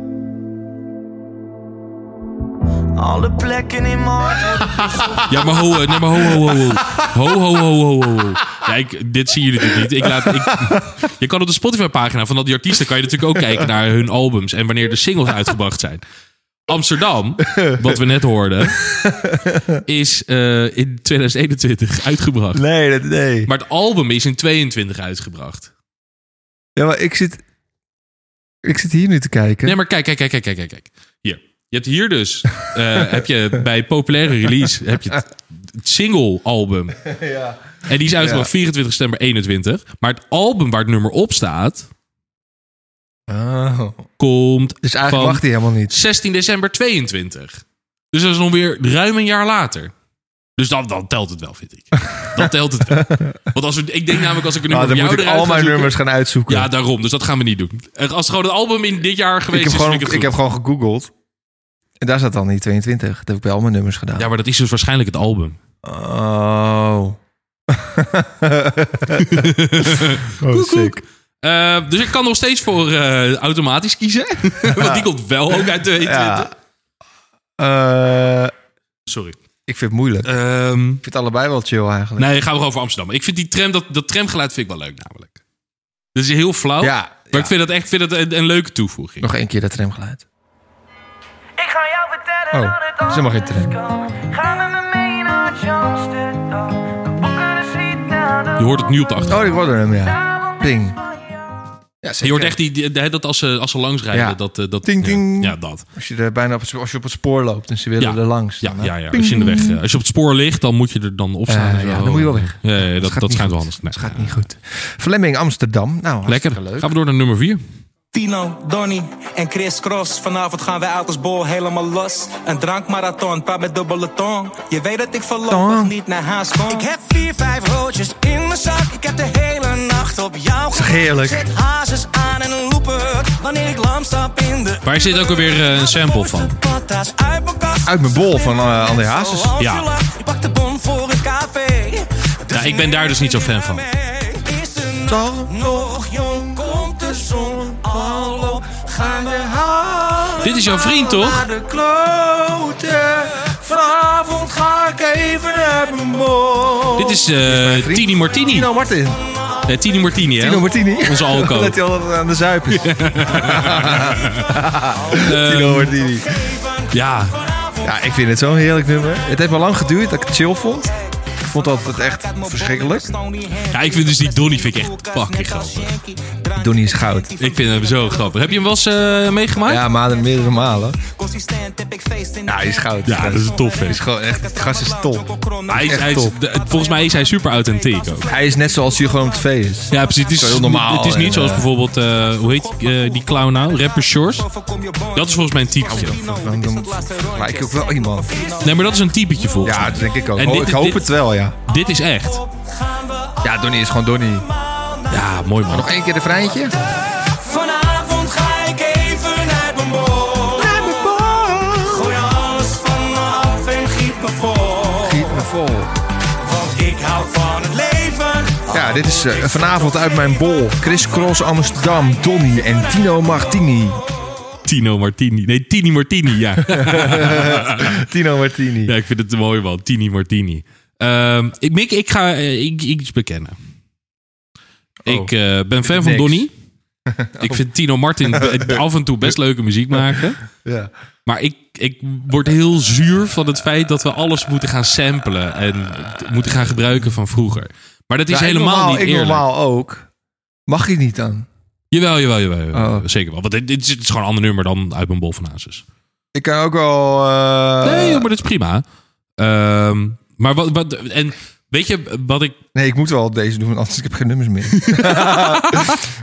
F: Alle plekken in
C: [LAUGHS]
F: mijn hart
A: Ja, maar ho, eh, nee, maar ho, ho, ho, ho. Ho, ho, ho, ho, ho, ho. Ja, ik, dit zien jullie natuurlijk niet. Ik laat, ik, je kan op de Spotify-pagina van al die artiesten... kan je natuurlijk ook kijken naar hun albums... en wanneer de singles uitgebracht zijn. Amsterdam, wat we net hoorden... is eh, in 2021 uitgebracht.
C: Nee, dat, nee.
A: Maar het album is in 22 uitgebracht.
C: Ja, maar ik zit, ik zit hier nu te kijken.
A: Nee, maar kijk, kijk, kijk, kijk, kijk, kijk, kijk. Hier. Je hebt hier dus,
C: [LAUGHS]
A: eh, heb je bij populaire release, heb je het, het single
C: [LAUGHS]
A: album. En die is uitgebracht 24 september 21. Maar het album waar het nummer op staat,
C: Oh.
A: komt
C: Dus eigenlijk
A: van
C: mag hij helemaal niet.
A: 16 december 22. Dus dat is nog weer ruim een jaar later. Dus dan, dan telt het wel, vind ik. Dan telt het wel. Want als we, ik denk namelijk als ik een
C: Nou,
A: nummer van
C: dan
A: jou
C: moet ik
A: eruit
C: al
A: ga
C: mijn
A: zoeken-
C: nummers gaan uitzoeken.
A: Ja, daarom. Dus dat gaan we niet doen. Eh, Als het gewoon het album in dit jaar geweest
C: ik, heb
A: is,
C: gewoon,
A: vind ik
C: ik,
A: het goed.
C: heb gewoon gegoogeld. En daar zat dan die 22. Dat heb ik bij al mijn nummers gedaan.
A: Ja, maar dat is dus waarschijnlijk het album.
C: Oh. oh, sick.
A: Eh, dus ik kan nog steeds voor eh, automatisch kiezen. [LAUGHS] Want die komt wel ook uit E 22.
C: Ja. Eh,
A: Sorry.
C: ik vind het moeilijk. Ik
A: Ehm
C: vind het allebei wel chill eigenlijk.
A: nee, gaan we gewoon voor Amsterdam. Ik vind die tram, dat, dat tramgeluid vind ik wel leuk namelijk. Dat is heel flauw.
C: Ja,
A: maar
C: ja.
A: ik vind dat echt ik vind dat een, een leuke toevoeging.
C: Nog één keer dat tramgeluid.
E: Ik ga jou vertellen
C: Oh,
E: dat het
C: dat is helemaal geen
E: anders kan.
C: trend.
E: Ga met me mee naar Amsterdam. We boeken een suite naar de
A: Je hoort het nu op de achtergrond.
C: Oh, ik hoorde hem, ja.
E: avond met
C: Ding.
E: Spanje.
C: ja zeker.
A: Je hoort echt die, die- die- dat als ze, als ze langs rijden.
C: Oh, Ja.
A: Dat, eh, dat,
C: Ding,
A: ja.
C: ding.
A: Ja, dat.
C: Als je, er bijna op het, als je op het spoor loopt en ze willen
A: Ja.
C: er langs.
A: Ja,
C: dan, eh,
A: ja, ja. Als, je in de weg, eh, als je op het spoor ligt, dan moet je er dan op staan.
C: Eh,
A: en
C: ja,
A: zo.
C: dan moet je wel weg.
A: Ja, ja, dat,
C: gaat
A: dat
C: niet
A: schijnt wel
C: goed.
A: anders. Nee.
C: Het gaat niet goed. Fleming Amsterdam. Nou,
A: Lekker.
C: hartstikke leuk.
A: Gaan we door naar nummer 4.
G: Tino, Donny en Chris Cross. Vanavond gaan wij uit als bol helemaal los. Een drankmarathon, praat met dubbele tong. Je weet dat ik voorlopig
C: Tong.
G: niet naar haast kom.
F: Ik heb vier, vijf roodjes in mijn zak. Ik heb de hele nacht op jou
C: Zeg, heerlijk.
F: gewacht. Zet hazes aan en een looper. Wanneer ik lam stap in de...
A: Waar zit ook alweer, eh, een sample van?
F: Patas Uit mijn, kast.
C: Uit mijn bol van, eh, André Hazes.
F: Zoals je
A: Ja.
F: lacht. Ik pak de bon voor het café. Het is
A: Ja, ik ben daar dus niet zo fan van.
F: Eerste nacht nog jong, komt de zon al op. Gaan we halen
A: Dit is jouw vriend, toch?
F: naar de kloten. Vanavond ga ik even uit mijn bol.
A: Dit is eh,
C: vriend.
A: Tini Martini.
C: Tino Martin.
A: Eh, Tini Martini, hè?
C: Tino Martini.
A: Onze alco.
C: [LAUGHS] dat hij altijd aan de zuip
A: [LAUGHS]
C: is. Tino Martini.
A: Ehm, Ja,
C: Ja, ik vind het zo'n heerlijk nummer. Het heeft me lang geduurd dat ik het chill vond. Ik vond dat het echt verschrikkelijk.
A: Ja, ik vind dus die Donny vind ik echt fucking grappig.
C: Donnie is goud.
A: Ik vind hem zo grappig. Heb je hem wel eens eh, meegemaakt?
C: Ja, maar meerdere malen.
G: Consistent heb ik feest in de
C: Ja, hij is goud.
A: Ja, dat is een
C: Hij is
A: topfeest.
C: gewoon echt, het gast is top.
A: Hij is,
C: echt
A: hij is-
C: top.
A: de- volgens mij is hij super authentiek ook.
C: Hij is net zoals hij gewoon op tv is.
A: Ja, precies. Het is,
C: Zo heel normaal
A: Het is
C: en,
A: niet zoals
C: eh,
A: bijvoorbeeld, eh, hoe heet eh, die clown nou? Rapper Shores. Dat is volgens mij een typetje.
C: Dan, dan lijk ik ook wel iemand.
A: Nee, maar dat is een typetje volgens
C: Ja,
A: mij.
C: dat denk ik ook.
A: En
C: Oh,
A: dit-
C: ik hoop
A: dit-
C: het wel, ja.
A: Dit is echt.
C: Ja, Donnie is gewoon Donnie.
A: Ja, mooi man.
C: Nog één keer de vrijtje.
F: Vanavond ga ik even naar mijn bol. Naar mijn bol. Gooi alles van me af en giet me vol.
C: Giet me vol.
F: Want ik hou van het leven.
C: Ja, dit is eh, vanavond uit mijn bol. Chris Cross Amsterdam, Donnie en Tino Martini.
A: Tino Martini. Nee, Tini Martini, ja.
C: Tino Martini.
A: ja, ik vind het een mooi man. Tini Martini. Ehm, ik, Mick, ik ga eh, ik, ik iets bekennen. Ik eh, ben fan van
C: Oh. niks.
A: Donny.
C: [LAUGHS]
A: Ik vind Tino Martin be- af en toe best leuke muziek maken.
C: Ja.
A: Maar ik, ik word heel zuur van het feit dat we alles moeten gaan samplen. En t- moeten gaan gebruiken van vroeger. Maar dat is
C: Ja, Nou, ik
A: helemaal
C: normaal-
A: niet
C: Ik
A: eerlijk.
C: normaal ook. Mag je niet dan?
A: Jawel, jawel, jawel. jawel.
C: Oh.
A: Zeker wel. Want dit, dit is, dit is gewoon een ander nummer dan uit mijn bol van Asus.
C: Ik kan ook wel... eh,
A: Nee, joh, maar dat is prima. Ehm, maar wat, wat... En weet je wat ik...
C: nee, ik moet wel deze doen, anders ik heb geen
A: [LAUGHS]
C: nummers meer.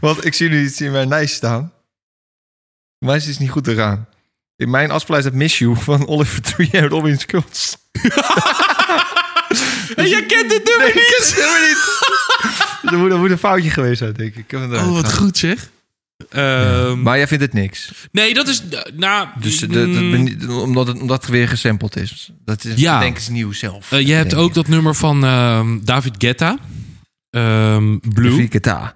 C: Want ik zie nu iets in mijn lijst staan. Mijn lijst is niet goed eraan. In mijn afspraak staat Miss You van Oliver Tree en Robin Schulz.
A: En jij kent dit nummer
C: Nee, ik [LAUGHS] ken het nummer niet. er, moet, er moet een foutje geweest zijn, denk ik. ik heb het
A: Oh, wat
C: eruit
A: goed zeg. Ehm,
C: Maar jij vindt het niks.
A: Nee, dat is... Nou,
C: Dus de- de-
A: mm,
C: benie- omdat, het, omdat het weer gesampled is. Dat is
A: Ja.
C: denk ik is nieuw zelf.
A: eh, je hebt ook dat nummer van ehm, David Guetta. Ehm, Blue.
C: Viketa.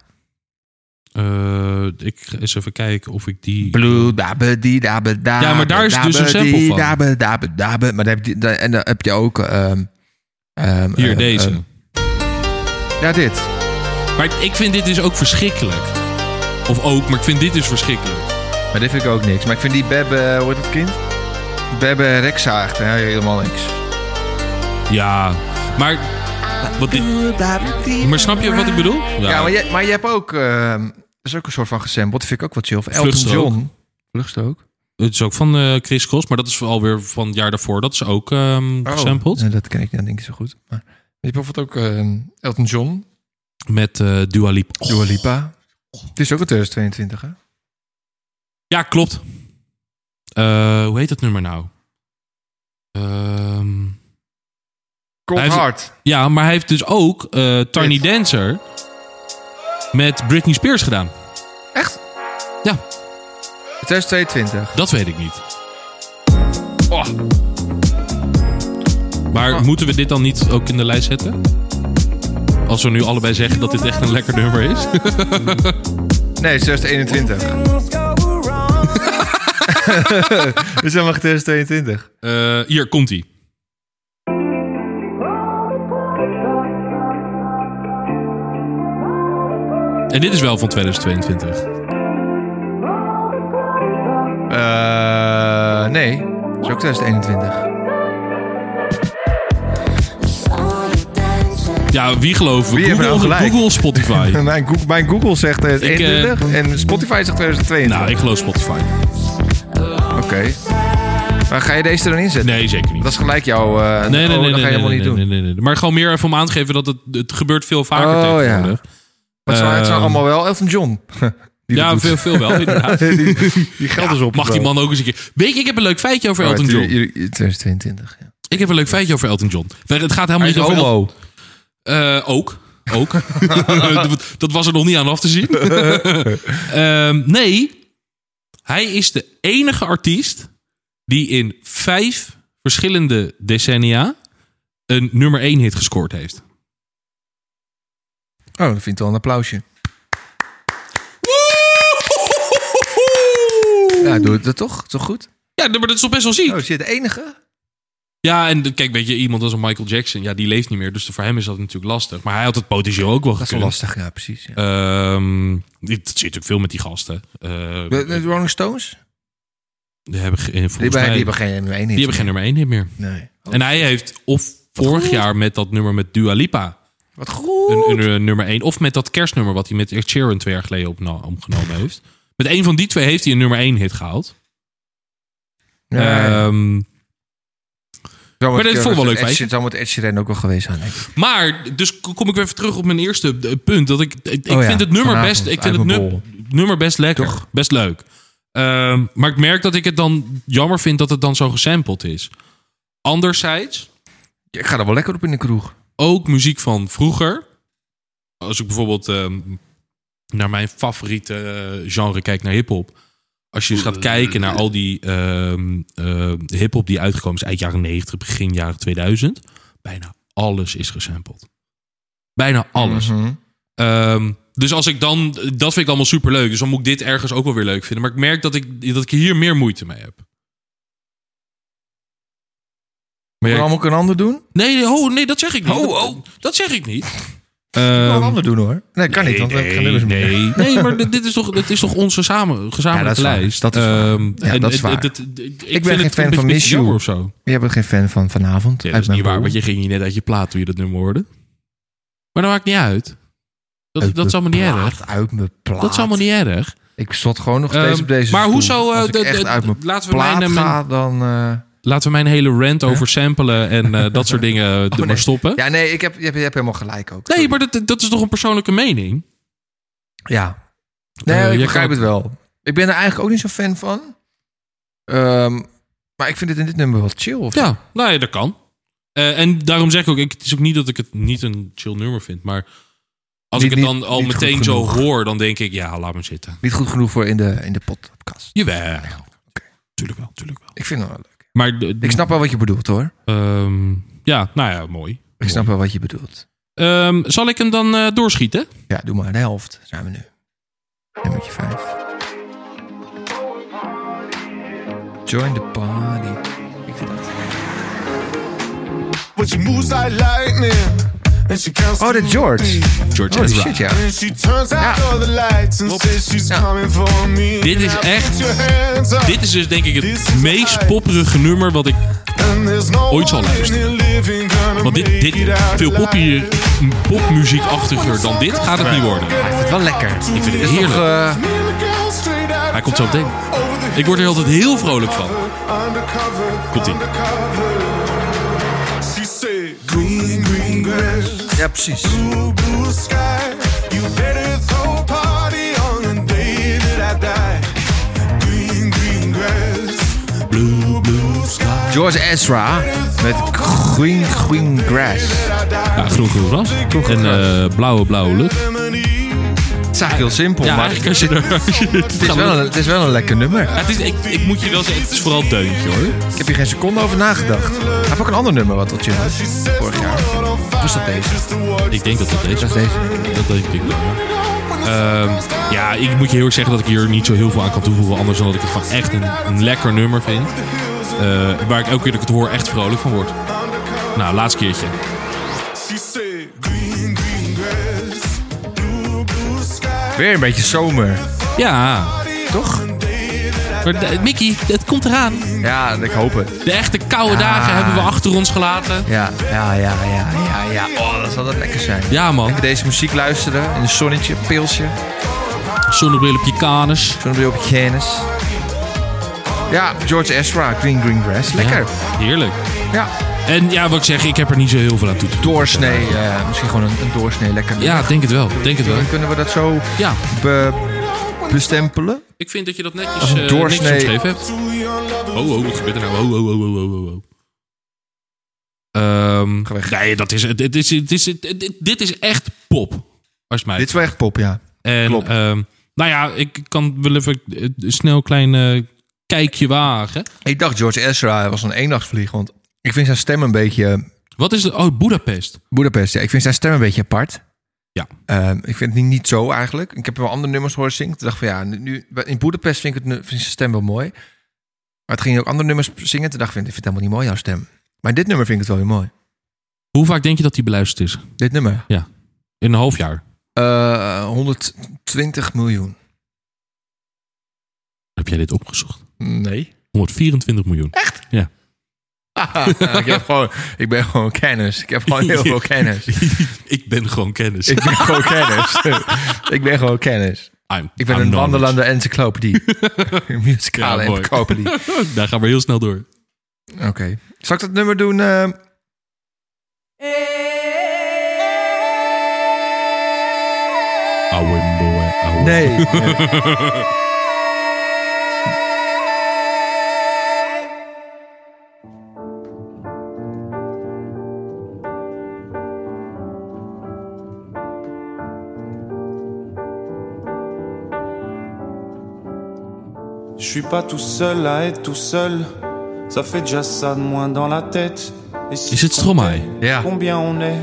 A: Eh, ik ga eens even kijken of ik die...
C: Blue, dabe, die, dabe, dabe,
A: Ja, maar daar is dus een
C: dabe,
A: sample
C: die,
A: van.
C: Dabe, dabe, dabe. Maar dan heb je, dan- en dan heb je ook... ehm, ehm,
A: Hier,
C: eh,
A: deze.
C: ehm, ja, dit.
A: Maar ik vind dit dus ook verschrikkelijk. Of ook, maar ik vind dit dus verschrikkelijk.
C: Maar dit vind ik ook niks. Maar ik vind die Bebbe, eh, hoe heet dat kind? Bebbe Rexaagd, hè, helemaal niks.
A: Ja, maar... Wat dit, maar snap je wat ik bedoel?
C: Ja, maar, je, maar je hebt ook... ehm, dat is ook een soort van gesampled. Dat vind ik ook wat chill. Of Elton
A: Vluchtstrook.
C: John. Vluchtstrook?
A: Het is ook van eh, Chris Cross, maar dat is alweer van het jaar daarvoor. Dat is ook ehm gesampled.
C: Oh, Nee, dat ken ik dan denk ik zo goed. Maar je hebt bijvoorbeeld ook ehm, Elton John.
A: Met eh Dua Lipa.
C: Dua Lipa. Het is ook een 2022, hè?
A: Ja, klopt. Eh, hoe heet dat nummer nou? Ehm,
C: Cold
A: Hij heeft-
C: Heart.
A: ja, maar hij heeft dus ook eh, Tiny
C: Dit.
A: Dancer met Britney Spears gedaan.
C: Echt?
A: Ja,
C: 2022.
A: dat weet ik niet.
C: Oh. Ah.
A: Maar moeten we dit dan niet ook in de lijst zetten? Als we nu allebei zeggen dat dit echt een lekker nummer is.
C: Nee, 2021.
A: [LAUGHS]
C: Dit is helemaal 2022.
A: Eh, hier, komt-ie. En dit is wel van 2022.
C: Eh, nee, het is ook 2021.
A: Ja, wie geloven? we?
C: Wie heeft
A: Google,
C: nou gelijk?
A: Google of Spotify?
C: [LAUGHS] Mijn, Google, mijn Google zegt
A: Ik, eh,
C: 2021 en Spotify zegt 2022.
A: nou, ik geloof Spotify.
C: Oké. Maar ga je deze er dan inzetten?
A: Nou, Nee, zeker niet.
C: Dat is gelijk jouw... eh,
A: Nee, nee, nee,
C: oh, dat
A: nee,
C: ga je
A: nee,
C: helemaal
A: nee,
C: niet doen.
A: nee, nee, nee. Maar gewoon meer even om aan te geven dat het, het gebeurt veel vaker
C: Oh, ja.
A: tegenwoordig.
C: Maar het, zijn, het zijn
A: Ehm,
C: allemaal wel Elton John. [LAUGHS] Die
A: Ja,
C: dat doet.
A: veel, veel
C: [LAUGHS]
A: wel, inderdaad.
C: die, die geld is op. Oh,
A: Mag die man ook eens een keer... Weet je, ik heb een leuk feitje over Elton John.
C: 2022, ja.
A: Ik heb een leuk feitje over Elton John. Het gaat helemaal
C: Hij
A: niet
C: is
A: over Elton
C: homo. Oh,
A: Eh, ook. Ook. [LAUGHS] dat was er nog niet aan af te
C: [LAUGHS]
A: zien. Ehm, nee. Hij is de enige artiest die in vijf verschillende decennia een nummer één hit gescoord heeft.
C: Oh, dat vind ik wel een applausje. Ja, doe het dat toch? Dat is toch goed?
A: Ja, maar dat is toch best wel ziek.
C: Oh, is dit de enige?
A: Ja, en de- kijk, weet je, iemand als een Michael Jackson, ja, die leeft niet meer. Dus voor hem is dat natuurlijk lastig. Maar hij had het potentieel ook wel
C: Dat is wel
A: gekund.
C: lastig, ja, precies. Ja.
A: Ehm, dit dat zit natuurlijk veel met die gasten. Eh,
C: De- de Rolling Stones?
A: die hebben, ge- eh, volgens
C: Die
A: mij-
C: hebben, die Oh. hebben geen nummer één hit.
A: Die hebben geen nummer 1 hit meer.
C: Nee.
A: En hij heeft of vorig jaar met dat nummer met Dua Lipa
C: Wat goed.
A: een, een, eh, nummer 1. Of met dat kerstnummer wat hij met Ed Sheeran twee jaar geleden opna- opgenomen heeft. Met een van die twee heeft hij een nummer 1 hit gehaald.
C: Ja,
A: Ehm, maar dit vond ik wel leuk,
C: Het
A: weet je.
C: zit allemaal met Ed Sheeran ook wel geweest aan. denk ik.
A: maar, dus k- kom ik weer even terug op mijn eerste eh, punt. Dat ik, ik, ik
C: Oh ja,
A: vind het nummer
C: vanavond
A: best, ik
C: uit
A: vind het
C: mijn
A: nu-
C: bol.
A: nummer best lekker. Best leuk. Ehm, maar ik merk dat ik het dan jammer vind dat het dan zo gesampled is. Anderzijds,
C: Ik ga er wel lekker op in de kroeg.
A: ook muziek van vroeger. Als ik bijvoorbeeld ehm, naar mijn favoriete eh, genre kijk, naar hip-hop. Als je eens gaat kijken naar al die ehm ehm, hip-hop die uitgekomen is eind jaren 90, begin jaren 2000. Bijna alles is gesampled. Bijna alles.
C: Mhm.
A: Ehm, dus als ik dan, dat vind ik allemaal super leuk. Dus dan moet ik dit ergens ook wel weer leuk vinden. Maar ik merk dat ik, dat ik hier meer moeite mee heb. Maar
C: Kan
A: jij-
C: allemaal ook een ander doen?
A: Nee, nee, oh, nee, dat zeg ik niet.
C: Oh,
A: Dat-
C: oh.
A: Dat zeg ik niet.
C: kan een
A: Ehm,
C: ander doen hoor. Nee, kan niet, want we dus hebben geen nummers meer.
A: nee. [LAUGHS] Nee, maar dit dit is toch, dit is toch onze samen,
C: Ja, dat
A: gezamenlijke
C: is waar.
A: lijst? Ehm,
C: Dat is waar. Ja, dat is waar.
A: ik
C: ben
A: vind
C: geen
A: het een
C: fan
A: beetje-
C: van
A: beetje
C: Miss You.
A: jammer of zo.
C: Je bent geen fan van
A: Ja,
C: vanavond.
A: dat
C: Uit
A: is
C: mijn
A: niet waar,
C: bol.
A: want je ging je net uit je plaat toen je dat nummer hoorde. Maar dat maakt niet uit. Dat,
C: Uit
A: dat is
C: mijn
A: allemaal niet
C: plaat,
A: erg.
C: Uit mijn plaat.
A: Dat is allemaal niet erg.
C: Ik zat gewoon nog steeds
A: Ehm,
C: op deze
A: maar
C: stoel.
A: hoezo, eh,
C: Als ik
A: de-
C: echt
A: de-
C: uit mijn
A: laten we
C: plaat
A: mijn-
C: ga, dan... eh,
A: Laten we mijn hele rant over samplen en eh, dat soort dingen
C: [LAUGHS]
A: er
C: Oh, nee.
A: maar stoppen.
C: Ja, nee, ik heb, je, hebt, je hebt helemaal gelijk ook.
A: Nee, maar dat, dat is toch een persoonlijke mening?
C: Ja. Nee,
A: Eh,
C: ik
A: jij
C: begrijp
A: kan-
C: het wel. Ik ben er eigenlijk ook niet zo fan van. Ehm, maar ik vind het in dit nummer wel chill. Of
A: Ja, nou ja, dat kan. Eh, en daarom zeg ik ook, ik, het is ook niet dat ik het niet een chill nummer vind, maar Als
C: Niet-
A: ik het
C: niet-
A: dan al
C: niet
A: meteen
C: goed
A: zo
C: genoeg.
A: hoor, dan denk ik, ja, laat maar zitten.
C: Niet goed genoeg voor in de, in de podcast.
A: Jawel. Tuurlijk wel, tuurlijk wel.
C: Ik vind het wel leuk.
A: Maar de- de-
C: Ik snap wel wat je bedoelt hoor.
A: ehm, ja, nou ja, mooi.
C: Ik snap wel wat je bedoelt.
A: Ehm, zal ik hem dan eh, doorschieten?
C: Ja, doe maar de helft. Zijn we nu. Nummertje vijf. Join the party. Ik vind dat...
F: But she moves like lightning. And she comes
C: Oh,
F: to
C: de George.
A: George
C: Oh,
A: Ezra.
C: shit ja.
F: And she turns out
C: Ja.
F: all the lights and
A: Klopt.
F: says she's
C: Ja.
F: coming for me.
A: Dit is
F: Now
A: echt-
F: put your hands up.
A: Dit is dus denk ik
F: This
A: het
F: is
A: meest
F: life.
A: popperige nummer wat ik...
F: And there's no
A: ooit zal
F: one in
A: luisteren.
F: here living gonna
A: Want dit,
F: make
A: dit
F: it out
A: veel poppier,
F: alive.
A: popmuziekachtiger dan dit gaat het niet worden.
C: Hij vindt het wel lekker.
A: Ik vind het
C: Is toch,
A: heerlijk.
C: eh,
A: Hij komt zo meteen. Ik word er altijd heel vrolijk van. Komt-ie.
F: Green, green grass,
C: ja, precies.
F: blue, blue sky. You better throw a party on the day that I die. Green, green grass, blue, blue sky.
C: George Ezra met Green Green Grass.
A: Ja, groen, groen gras. En eh, blauwe, blauwe lucht.
C: Het is eigenlijk heel simpel,
A: Ja,
C: maar
A: eigenlijk als je er... als je het
C: [LAUGHS] het, is
A: gaat
C: wel
A: doen-
C: een, het is wel een lekker nummer.
A: Ja, het is, ik, ik moet je wel zeggen, het is vooral een deuntje hoor.
C: Ik heb hier geen seconde over nagedacht. Ik heb ook een ander nummer wat tot je vorig jaar. Was dat deze?
A: Ik denk dat dat deze
C: Dat is deze.
A: Dat denk ik wel. ja. Ehm, ja, ik moet je heel erg zeggen dat ik hier niet zo heel veel aan kan toevoegen. Anders dan dat ik het gewoon echt een, een lekker nummer vind. Eh, waar ik elke keer dat ik het hoor echt vrolijk van word. Nou, laatst keertje.
C: Weer een beetje zomer.
A: Ja,
C: Toch?
A: maar de- Mickey, het komt eraan.
C: Ja, ik hoop het.
A: De echte koude
C: Ah.
A: dagen hebben we achter ons gelaten.
C: Ja, ja, ja, ja, ja, ja. Oh, dat zal dat lekker zijn.
A: Ja man,
C: Lekker Deze muziek luisteren in een zonnetje, pilsje,
A: zonnebril op je kanus.
C: zo'n bril op je kennis. Ja, George Ezra, Green Green Grass. Lekker.
A: Ja, heerlijk.
C: Ja,
A: En ja, wat ik zeg, ik heb er niet zo heel veel aan toe te doen.
C: doorsnee. eh, misschien gewoon een, een doorsnee lekker. nummer.
A: Ja, denk het wel. Denk het wel.
C: Dan kunnen we dat zo
A: Ja,
C: be- bestempelen.
A: ik vind dat je dat netjes,
C: Als een
A: eh, netjes
C: doorsnee.
A: omschreven hebt. Oh, oh, wat gebeurt er nou? Oh, oh, oh, oh, oh, oh, oh. Ehm,
C: Ga weg.
A: nee, dat is, dit, is, dit, is, dit, dit is echt pop. Als het mij
C: Dit is wel echt pop, ja.
A: En,
C: Klopt.
A: ehm, nou ja, ik kan wel even eh, snel een klein eh, kijkje wagen.
C: Ik dacht George Ezra was een eendagsvlieg, want ik vind zijn stem een beetje...
A: Wat is het? Oh, Budapest.
C: Budapest, ja. Ik vind zijn stem een beetje apart.
A: Ja.
C: Ehm, ik vind het niet, niet zo eigenlijk. Ik heb wel andere nummers horen zingen. Toen dacht ik van ja, nu- nu, in Budapest vind ik, het, nu- vind ik zijn stem wel mooi. Maar het ging ook andere nummers zingen. Toen dacht ik, van, ik vind het helemaal niet mooi, jouw stem. Maar dit nummer vind ik het wel weer mooi.
A: Hoe vaak denk je dat die beluisterd is?
C: Dit nummer.
A: In een half jaar.
C: Eh, 120 miljoen.
A: Heb jij dit opgezocht?
C: Nee.
A: 124 miljoen.
C: ik, heb gewoon, ik ben gewoon kennis. Ik heb gewoon [LAUGHS] heel veel kennis.
A: [LAUGHS] ik ben gewoon kennis.
C: Ik ben gewoon kennis. [LAUGHS] ik ben gewoon kennis.
A: I'm-
C: Ik ben
A: I'm
C: een
A: knowledge.
C: wandelende encyclopedie. [LAUGHS] Een muzikale
A: Ja, mooi.
C: encyclopedie.
A: [LAUGHS]
C: Oké.
A: Daar gaan we heel snel door.
C: Zal ik dat nummer doen? eh,
A: Ouwe moe, ouwe.
C: [LAUGHS] nee. Nee.
H: Je suis pas tout seul à être tout seul. Ça fait déjà ça de moins dans la tête. Et si
A: Is het
H: je
A: Stromae?
C: Ja,
H: Combien on est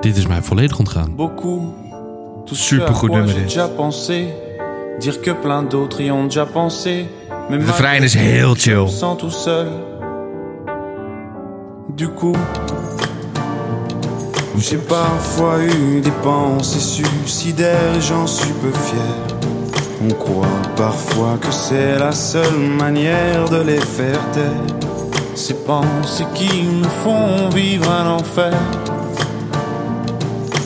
A: Dit is mij volledig ontgaan.
H: Beaucoup. Tout ce
C: Super
H: à
C: goed
H: quoi
C: nummer
H: J'ai
C: dit.
H: déjà pensé. Dire que plein d'autres y ont déjà pensé. Mais
C: de refrein is
H: malgré
C: heel
H: tout, je me
C: chill.
H: sens tout seul. Du coup, j'ai parfois eu des pensées suicidaires et j'en suis peu fier. On croit parfois que c'est la seule manière de les faire taire. Ces pensées qui nous font vivre un enfer.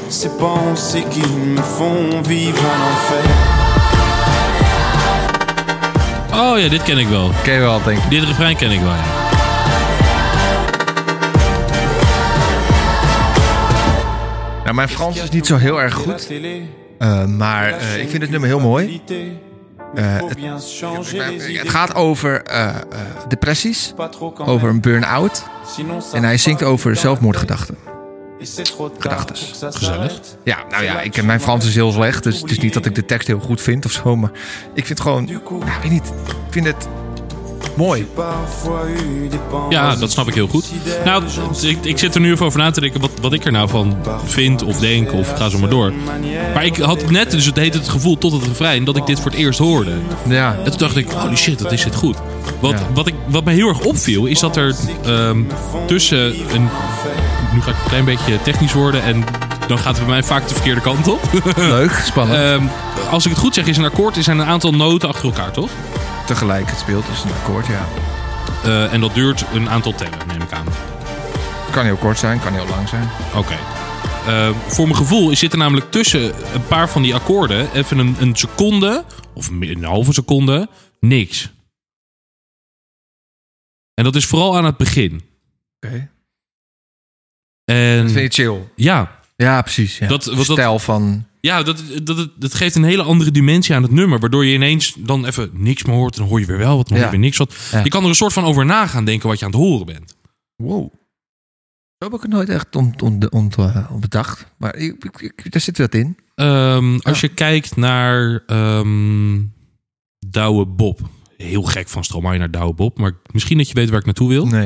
H: Ces pensées qui me font vivre un enfer.
A: Oh ja, dit ken ik wel.
C: ken je wel, denk ik.
A: Dit refrein ken ik wel. ja.
C: Nou, mijn Frans is niet zo heel erg
H: La
C: goed.
H: télé,
C: eh, maar eh, ik vind het nummer heel mooi.
H: Eh,
C: faut Maar, eh,
H: het,
C: het gaat over eh, eh, depressies,
H: gaat
C: over een burn-out. En hij zingt over zelfmoordgedachten.
G: Et c'est trop tard
C: Gedachtes.
G: pour que ça
A: Gezellig.
G: s'arrête.
C: Ja, nou ja, ik, mijn Frans is heel slecht. Dus het is niet dat ik de tekst heel goed vind of zo. Maar ik vind gewoon... Nou, ik weet niet. Ik vind het mooi.
H: Parfois eu des pensées
A: Ja, dat snap ik heel goed. Nou, t- ik, ik zit er nu even over na te denken wat, wat ik er nou van vind of denk of ga zo maar door. Maar ik had net, dus het heet het gevoel tot het refrein, dat ik dit voor het eerst hoorde.
C: Ja.
A: En toen dacht ik, holy shit, dat is dit goed. Wat,
C: Ja.
A: wat, ik, wat me heel erg opviel, is dat er ehm, tussen een... Nu ga ik een klein beetje technisch worden en dan gaat het bij mij vaak de verkeerde kant op.
C: Leuk,
A: [LAUGHS]
C: spannend.
A: Ehm, als ik het goed zeg, is een akkoord is een aantal noten achter elkaar, toch?
C: Tegelijk, het speelt dus een akkoord, ja.
A: Eh, en dat duurt een aantal tellen, neem ik aan.
C: Kan heel kort zijn, kan heel lang zijn.
A: Oké. Eh, voor mijn gevoel zit er namelijk tussen een paar van die akkoorden even een, een seconde, of meer- een halve seconde, niks. En dat is vooral aan het begin.
C: Oké.
A: En
C: Dat vind je chill.
A: ja,
C: Ja, precies. Ja.
A: Dat- wat dat-
C: Stijl van...
A: ja dat, dat, dat, dat geeft een hele andere dimensie aan het nummer. Waardoor je ineens dan even niks meer hoort. En dan hoor je weer wel wat, dan hoor je
C: Ja.
A: weer niks wat.
C: Ja.
A: Je kan er een soort van over na gaan denken wat je aan het horen bent.
C: Wow. Zo heb ik het nooit echt on, on, on, on eh, bedacht. Maar ik, ik, ik- daar zit wat in.
A: Ehm, als je kijkt naar ehm Douwe Bob. Heel gek van Stromae naar Douwe Bob. Maar misschien dat je weet waar ik naartoe wil.
C: Nee.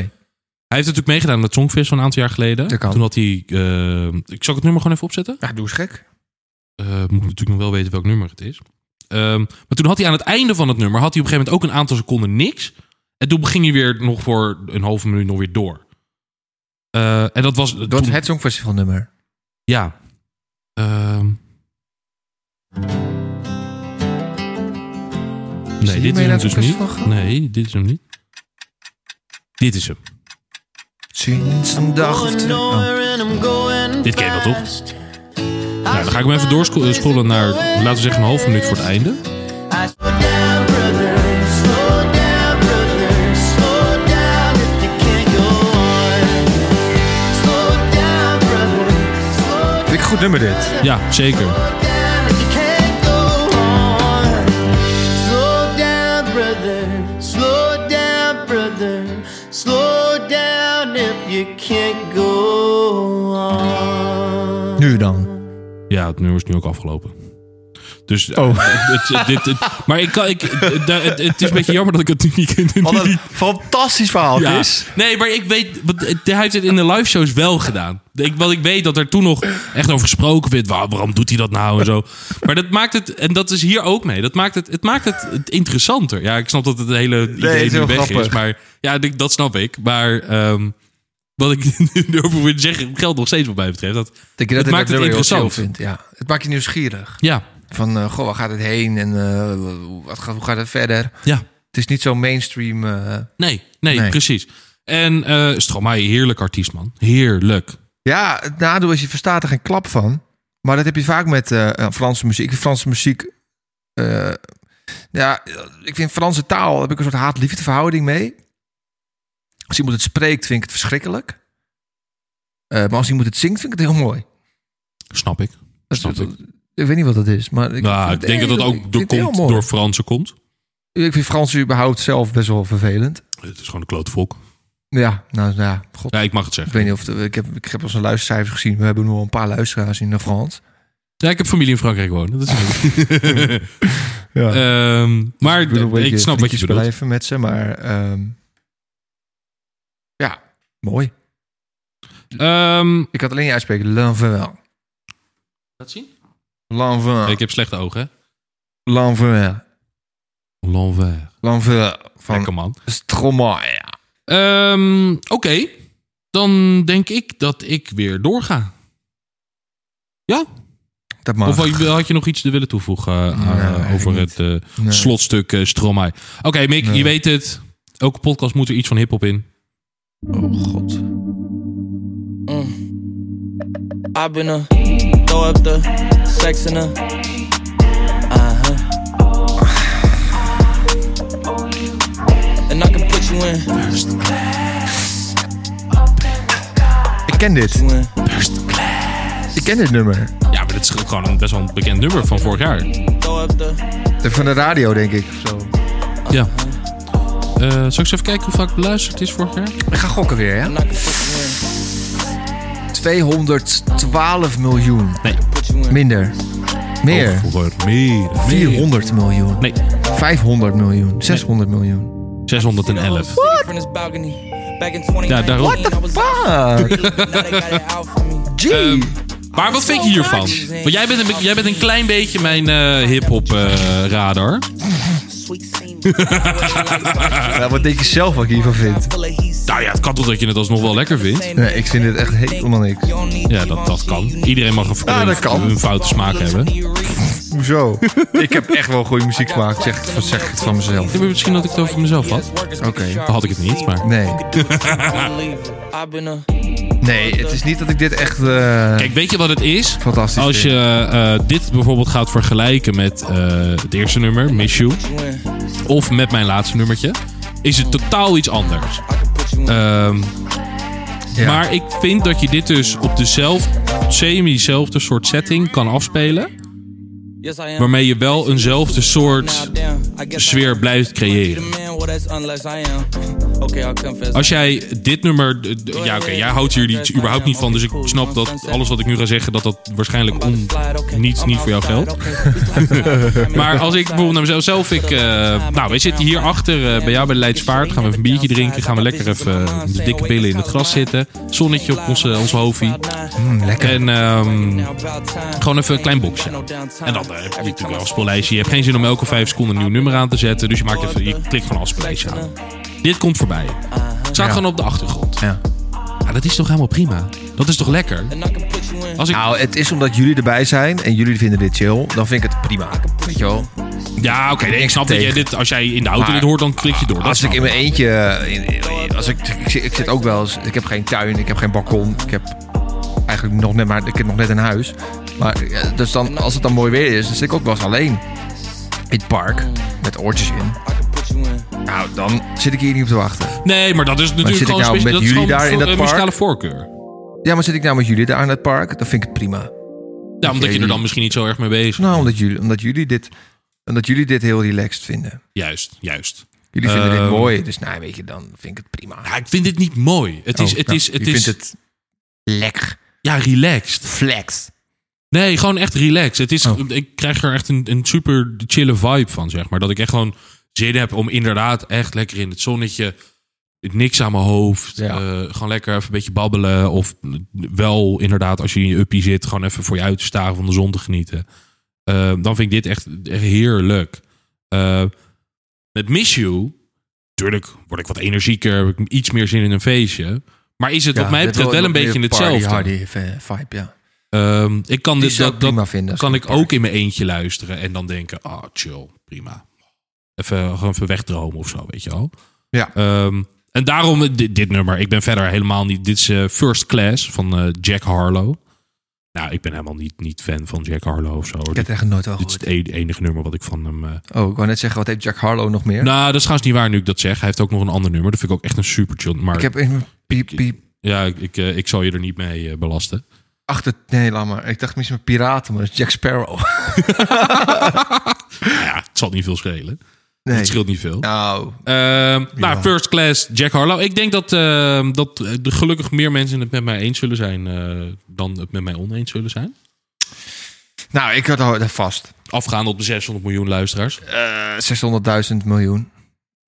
A: Hij heeft natuurlijk meegedaan met het Songfest van een aantal jaar geleden.
C: Dat kan.
A: Toen had hij... ehm, ik zal ik het nummer gewoon even opzetten.
C: Ja, doe eens gek.
A: Eh, moet ik natuurlijk nog wel weten welk nummer het is. Ehm, maar toen had hij aan het einde van het nummer... had hij op een gegeven moment ook een aantal seconden niks. En toen ging hij weer nog voor een halve minuut nog weer door. Eh, en dat was...
C: Dat
A: toen-
C: het Songfestival nummer.
A: Ja. Ehm. Nee, dit is
C: hiermee
A: hem
C: naar het
A: dus niet.
C: festival gaan?
A: Nee, dit is hem niet. Dit is hem.
C: Sinds een dag of twee. Oh.
A: Dit ken je wel, toch? Nou, dan ga ik hem even doorscrollen naar, laten we zeggen, een half minuut voor het einde.
C: Vind ik een goed nummer dit.
A: Ja, zeker.
I: Slow down, brother. Slow down if you can't go on.
C: Nu dan.
A: Ja, het nummer is nu ook afgelopen. Dus,
C: Oh.
A: [LAUGHS] het, het- dit, het- maar ik kan, ik, da- het, het is een beetje jammer dat ik het nu niet, nu
C: [LAUGHS] Wat een
A: niet-
C: fantastisch verhaal
A: Ja.
C: is.
A: Nee, maar ik weet, want het- hij heeft het in de live shows wel gedaan. Ik, want ik weet dat er toen nog echt over gesproken werd. Waar, waarom doet hij dat nou en zo. Maar dat maakt het, en dat is hier ook mee. Dat maakt het, het maakt het het interessanter. Ja, ik snap dat het hele idee
C: het is
A: nu
C: heel
A: weg is.
C: grappig.
A: Maar ja, ik- dat snap ik. Maar ehm, wat ik [LAUGHS] nu durf te zeggen, geldt nog steeds wat mij betreft. Dat,
C: Dat je
A: Het
C: dat
A: maakt het
C: nummer heel
A: interessant.
C: chill Vindt, ja. Het maakt je nieuwsgierig.
A: ja,
C: Van, eh, goh, waar gaat het heen en eh, wat gaat, hoe gaat het verder?
A: ja.
C: Het is niet zo mainstream. eh.
A: Nee, nee,
C: Nee.
A: precies. En eh Stromae, heerlijk artiest, man. Heerlijk.
C: Ja, het nadeel is, je verstaat er geen klap van. Maar dat heb je vaak met eh, eh, Franse muziek. Ik vind Franse muziek... eh, ja, ik vind Franse taal, heb ik een soort haat-liefde verhouding mee. Als iemand het spreekt, vind ik het verschrikkelijk. Eh, maar als iemand het zingt, vind ik het heel mooi.
A: Snap ik.
C: Dat-
A: Snap ik.
C: Ik weet niet wat dat is, maar... Ik,
A: Nou, ik
C: vind het
A: denk dat dat
C: heel- ik
A: ook
C: vind
A: door,
C: het heel
A: komt,
C: mooi.
A: door Fransen komt.
C: Ik vind Frans überhaupt zelf best wel vervelend.
A: Het is gewoon een klote volk.
C: Ja, nou nou ja, god.
A: Ja, ik mag het
C: Ik
A: zeggen.
C: weet niet of... de- ik, heb, ik heb al zijn luistercijfers gezien. We hebben nu al een paar luisteraars in de Frans.
A: Ja, ik heb familie in Frankrijk wonen.
C: [LAUGHS]
A: Dat is
C: Ja.
A: Ehm, maar
C: ik, bedoel, een
A: ik,
C: beetje
A: snap wat je
C: vriendjes
A: bedoelt.
C: blijven met ze, maar... ehm, ja, mooi.
A: Ehm,
C: Ik had alleen je uitspreken. L'envers.
A: Laat zien.
C: L'envers.
A: Ik heb slechte ogen,
C: L'envers.
A: hè? L'envers.
C: L'envers.
A: Lekker
C: Van
A: man.
C: Stromae.
A: Ehm, Oké. Dan denk ik dat ik weer doorga. Ja?
C: Dat mag.
A: Of had je- had je nog iets te willen toevoegen eh,
C: Nee,
A: eh,
C: eigenlijk
A: over
C: niet.
A: het eh,
C: Nee.
A: slotstuk eh, Stromae? Oké, Mick,
C: Nee.
A: je weet het. Elke podcast moet er iets van hiphop in.
C: Oh, god.
I: I've been a throw up the sex in a uh huh. And I can put you in,
C: Ik ken dit.
I: you in.
C: Ik ken dit nummer.
A: Ja, maar dat is gewoon een, best wel een bekend nummer van vorig jaar.
I: Throw up the
C: Van de radio, denk ik. of Zo.
A: Ja. Eh, zal ik eens even kijken hoe vaak beluisterd het is vorig jaar?
C: Ik ga gokken weer, hè?
I: and I can put you in.
C: 212 miljoen.
A: Nee.
C: Minder. Meer.
A: Hoger, meer, meer.
C: 400 miljoen.
A: Oh, Nee,
C: 500 miljoen. 600
A: [LAUGHS]
C: miljoon.
A: 611.
I: From this balcony. Back in 2019,
A: Ja, daarom.
I: I was
C: Fuck.
I: out, now they got it out for me.
C: Ah, Gee.
A: Ehm, maar wat vind je hiervan? Want jij bent een, be- jij bent een klein beetje mijn eh, hip-hop eh, radar.
C: [LAUGHS] Nou, wat denk je zelf wat ik hiervan vind?
A: Nou ja, het kan toch dat je het alsnog wel lekker vindt?
C: Nee, ik vind dit echt helemaal niks.
A: Ja, dat, dat kan. Iedereen mag een,
C: Ja, dat kan.
A: een foute smaak hebben.
C: Hoezo? [LAUGHS] ik heb echt wel goede muziek gemaakt, zeg, zeg ik het van mezelf.
A: Ja, maar misschien dat ik het over mezelf had.
C: Oké.
A: Dan had ik het niet, maar...
C: Nee.
A: Eh,
I: I've been a
C: Nee, het is niet dat ik dit echt... eh,
A: Kijk, weet je wat het is?
C: Fantastisch
A: Als je eh, dit bijvoorbeeld gaat vergelijken met eh, het eerste nummer, Miss You,
I: win.
A: of met mijn laatste nummertje, is het totaal iets anders. Ehm,
C: ja.
A: Maar ik vind dat je dit dus op dezelfde, semi-zelfde soort setting kan afspelen,
I: Yes, I am.
A: waarmee je wel eenzelfde soort
I: Now, damn, I guess I
A: sfeer
I: am.
A: blijft creëren.
I: The man, well, that's unless I am. Okay, I'll confess.
A: Als jij dit nummer. d- d- Ja, oké, jij houdt hier iets überhaupt niet van. Dus ik snap dat alles wat ik nu ga zeggen, dat dat waarschijnlijk on, niet, Mm, niet voor jou [LAUGHS] geldt. Maar als ik bijvoorbeeld naar mezelf zelf, ik, eh, nou, wij zitten hier achter eh, bij jou bij de Leidspaard. Gaan we even een biertje drinken. Gaan we lekker even eh, de dikke billen in het gras zitten. Zonnetje op onze, ons hoofdje.
C: Mm, lekker.
A: En ehm, gewoon even een klein boxje. En dan eh, heb je natuurlijk een afspeellijstje. Je hebt geen zin om elke vijf seconden een nieuw nummer aan te zetten. Dus je, maakt even, je klikt gewoon een
I: eh,
A: afspeellijstje aan. Dit komt voorbij. Het staat
C: Ja.
A: gewoon op de achtergrond.
C: Ja.
A: Ja, dat is toch helemaal prima? Dat is toch lekker?
I: eh,
A: Als ik,
C: Nou, het is omdat jullie erbij zijn en jullie vinden dit chill, dan vind ik het prima. Weet je wel?
A: ja, oké, nee, ik
C: niks
A: snap dat jij
C: tegen.
A: dit... Als jij in de auto
C: Maar-
A: dit hoort, dan klik je door. Dat
C: Als
A: snap
C: ik in mijn eentje, eh, in- in- als ik, ik, zit- ik zit ook wel eens, ik heb geen tuin, ik heb geen balkon, ik heb eigenlijk nog net maar, ik heb nog net een huis. Maar eh, dus dan, als het dan mooi weer is, dan zit ik ook wel eens alleen in het park met oortjes in. Nou, dan zit ik hier niet op te wachten.
A: Nee, maar dat is natuurlijk
C: zit ik
A: gewoon...
C: nou
A: een
C: met
A: dat is
C: jullie
A: gewoon
C: daar in
A: vo-
C: dat
A: eh,
C: park?
A: muzikale voorkeur.
C: Ja, maar zit ik nou met jullie daar in het park, dan vind ik het prima.
A: Ja, omdat je er dan
C: jullie-
A: misschien niet zo erg mee bezig bent.
C: Nou, omdat jullie, omdat jullie dit, omdat jullie dit heel relaxed vinden.
A: Juist, juist.
C: Jullie vinden
A: Ehm.
C: dit mooi, dus nou, weet je, dan vind ik het prima.
A: Ja, ik vind dit niet mooi. Het is...
C: Oh,
A: Het
C: nou,
A: is, het
C: je
A: is
C: vindt het lekker.
A: Ja, relaxed.
C: Flex.
A: Nee, gewoon echt relaxed. Het is,
C: Oh.
A: Ik krijg er echt een, een super chille vibe van, zeg maar. Dat ik echt gewoon zin heb om inderdaad echt lekker in het zonnetje... Niks aan mijn hoofd.
C: Ja.
A: eh, gewoon lekker even een beetje babbelen. Of wel inderdaad, als je in je uppie zit... gewoon even voor je uit te staren van de zon te genieten. Eh, dan vind ik dit echt, echt heerlijk. Eh, met Miss You... Natuurlijk word ik wat energieker. Heb ik iets meer zin in een feestje. Maar is het wat mij betreft wel een beetje hetzelfde.
C: Hardy eh, vibe, ja.
A: Ehm, ik kan
C: Die
A: dit
C: zou
A: dat,
C: ik prima
A: dat
C: vinden als
A: kan
C: ik
A: ik
C: een park-
A: ook in mijn eentje luisteren en dan denken, ah, chill, prima. Even, gewoon even wegdromen of zo, weet je wel.
C: Ja.
A: Ehm, en daarom eh, dit, dit nummer. Ik ben verder helemaal niet. Dit is eh, First Class van eh, Jack Harlow. Nou, ik ben helemaal niet, niet fan van Jack Harlow of zo. hoor.
C: Ik
A: Dit,
C: heb het echt nooit al
A: dit is
C: gehoord.
A: het e- enige nummer wat ik van hem. eh,
C: Oh, ik wou net zeggen, wat heeft Jack Harlow nog meer?
A: Nou, dat is trouwens niet waar nu ik dat zeg. Hij heeft ook nog een ander nummer. Dat vind ik ook echt een super chill. Maar
C: ik heb even piep, piep,
A: ja, ik, ik, eh, ik zal je er niet mee eh, belasten.
C: achter... Nee, laat maar. Ik dacht misschien met piraten, maar dat is Jack Sparrow. [LAUGHS]
A: Nou ja, het zal niet veel schelen.
C: Nee.
A: Het scheelt niet veel.
C: Nou,
A: Ehm, nou, first class Jack Harlow. Ik denk dat, ehm, dat eh, de gelukkig meer mensen het met mij eens zullen zijn eh, dan het met mij oneens zullen zijn.
C: nou, ik had al dat vast.
A: Afgaande op de 600 miljoen luisteraars.
C: Eh, 600.000 miljoen.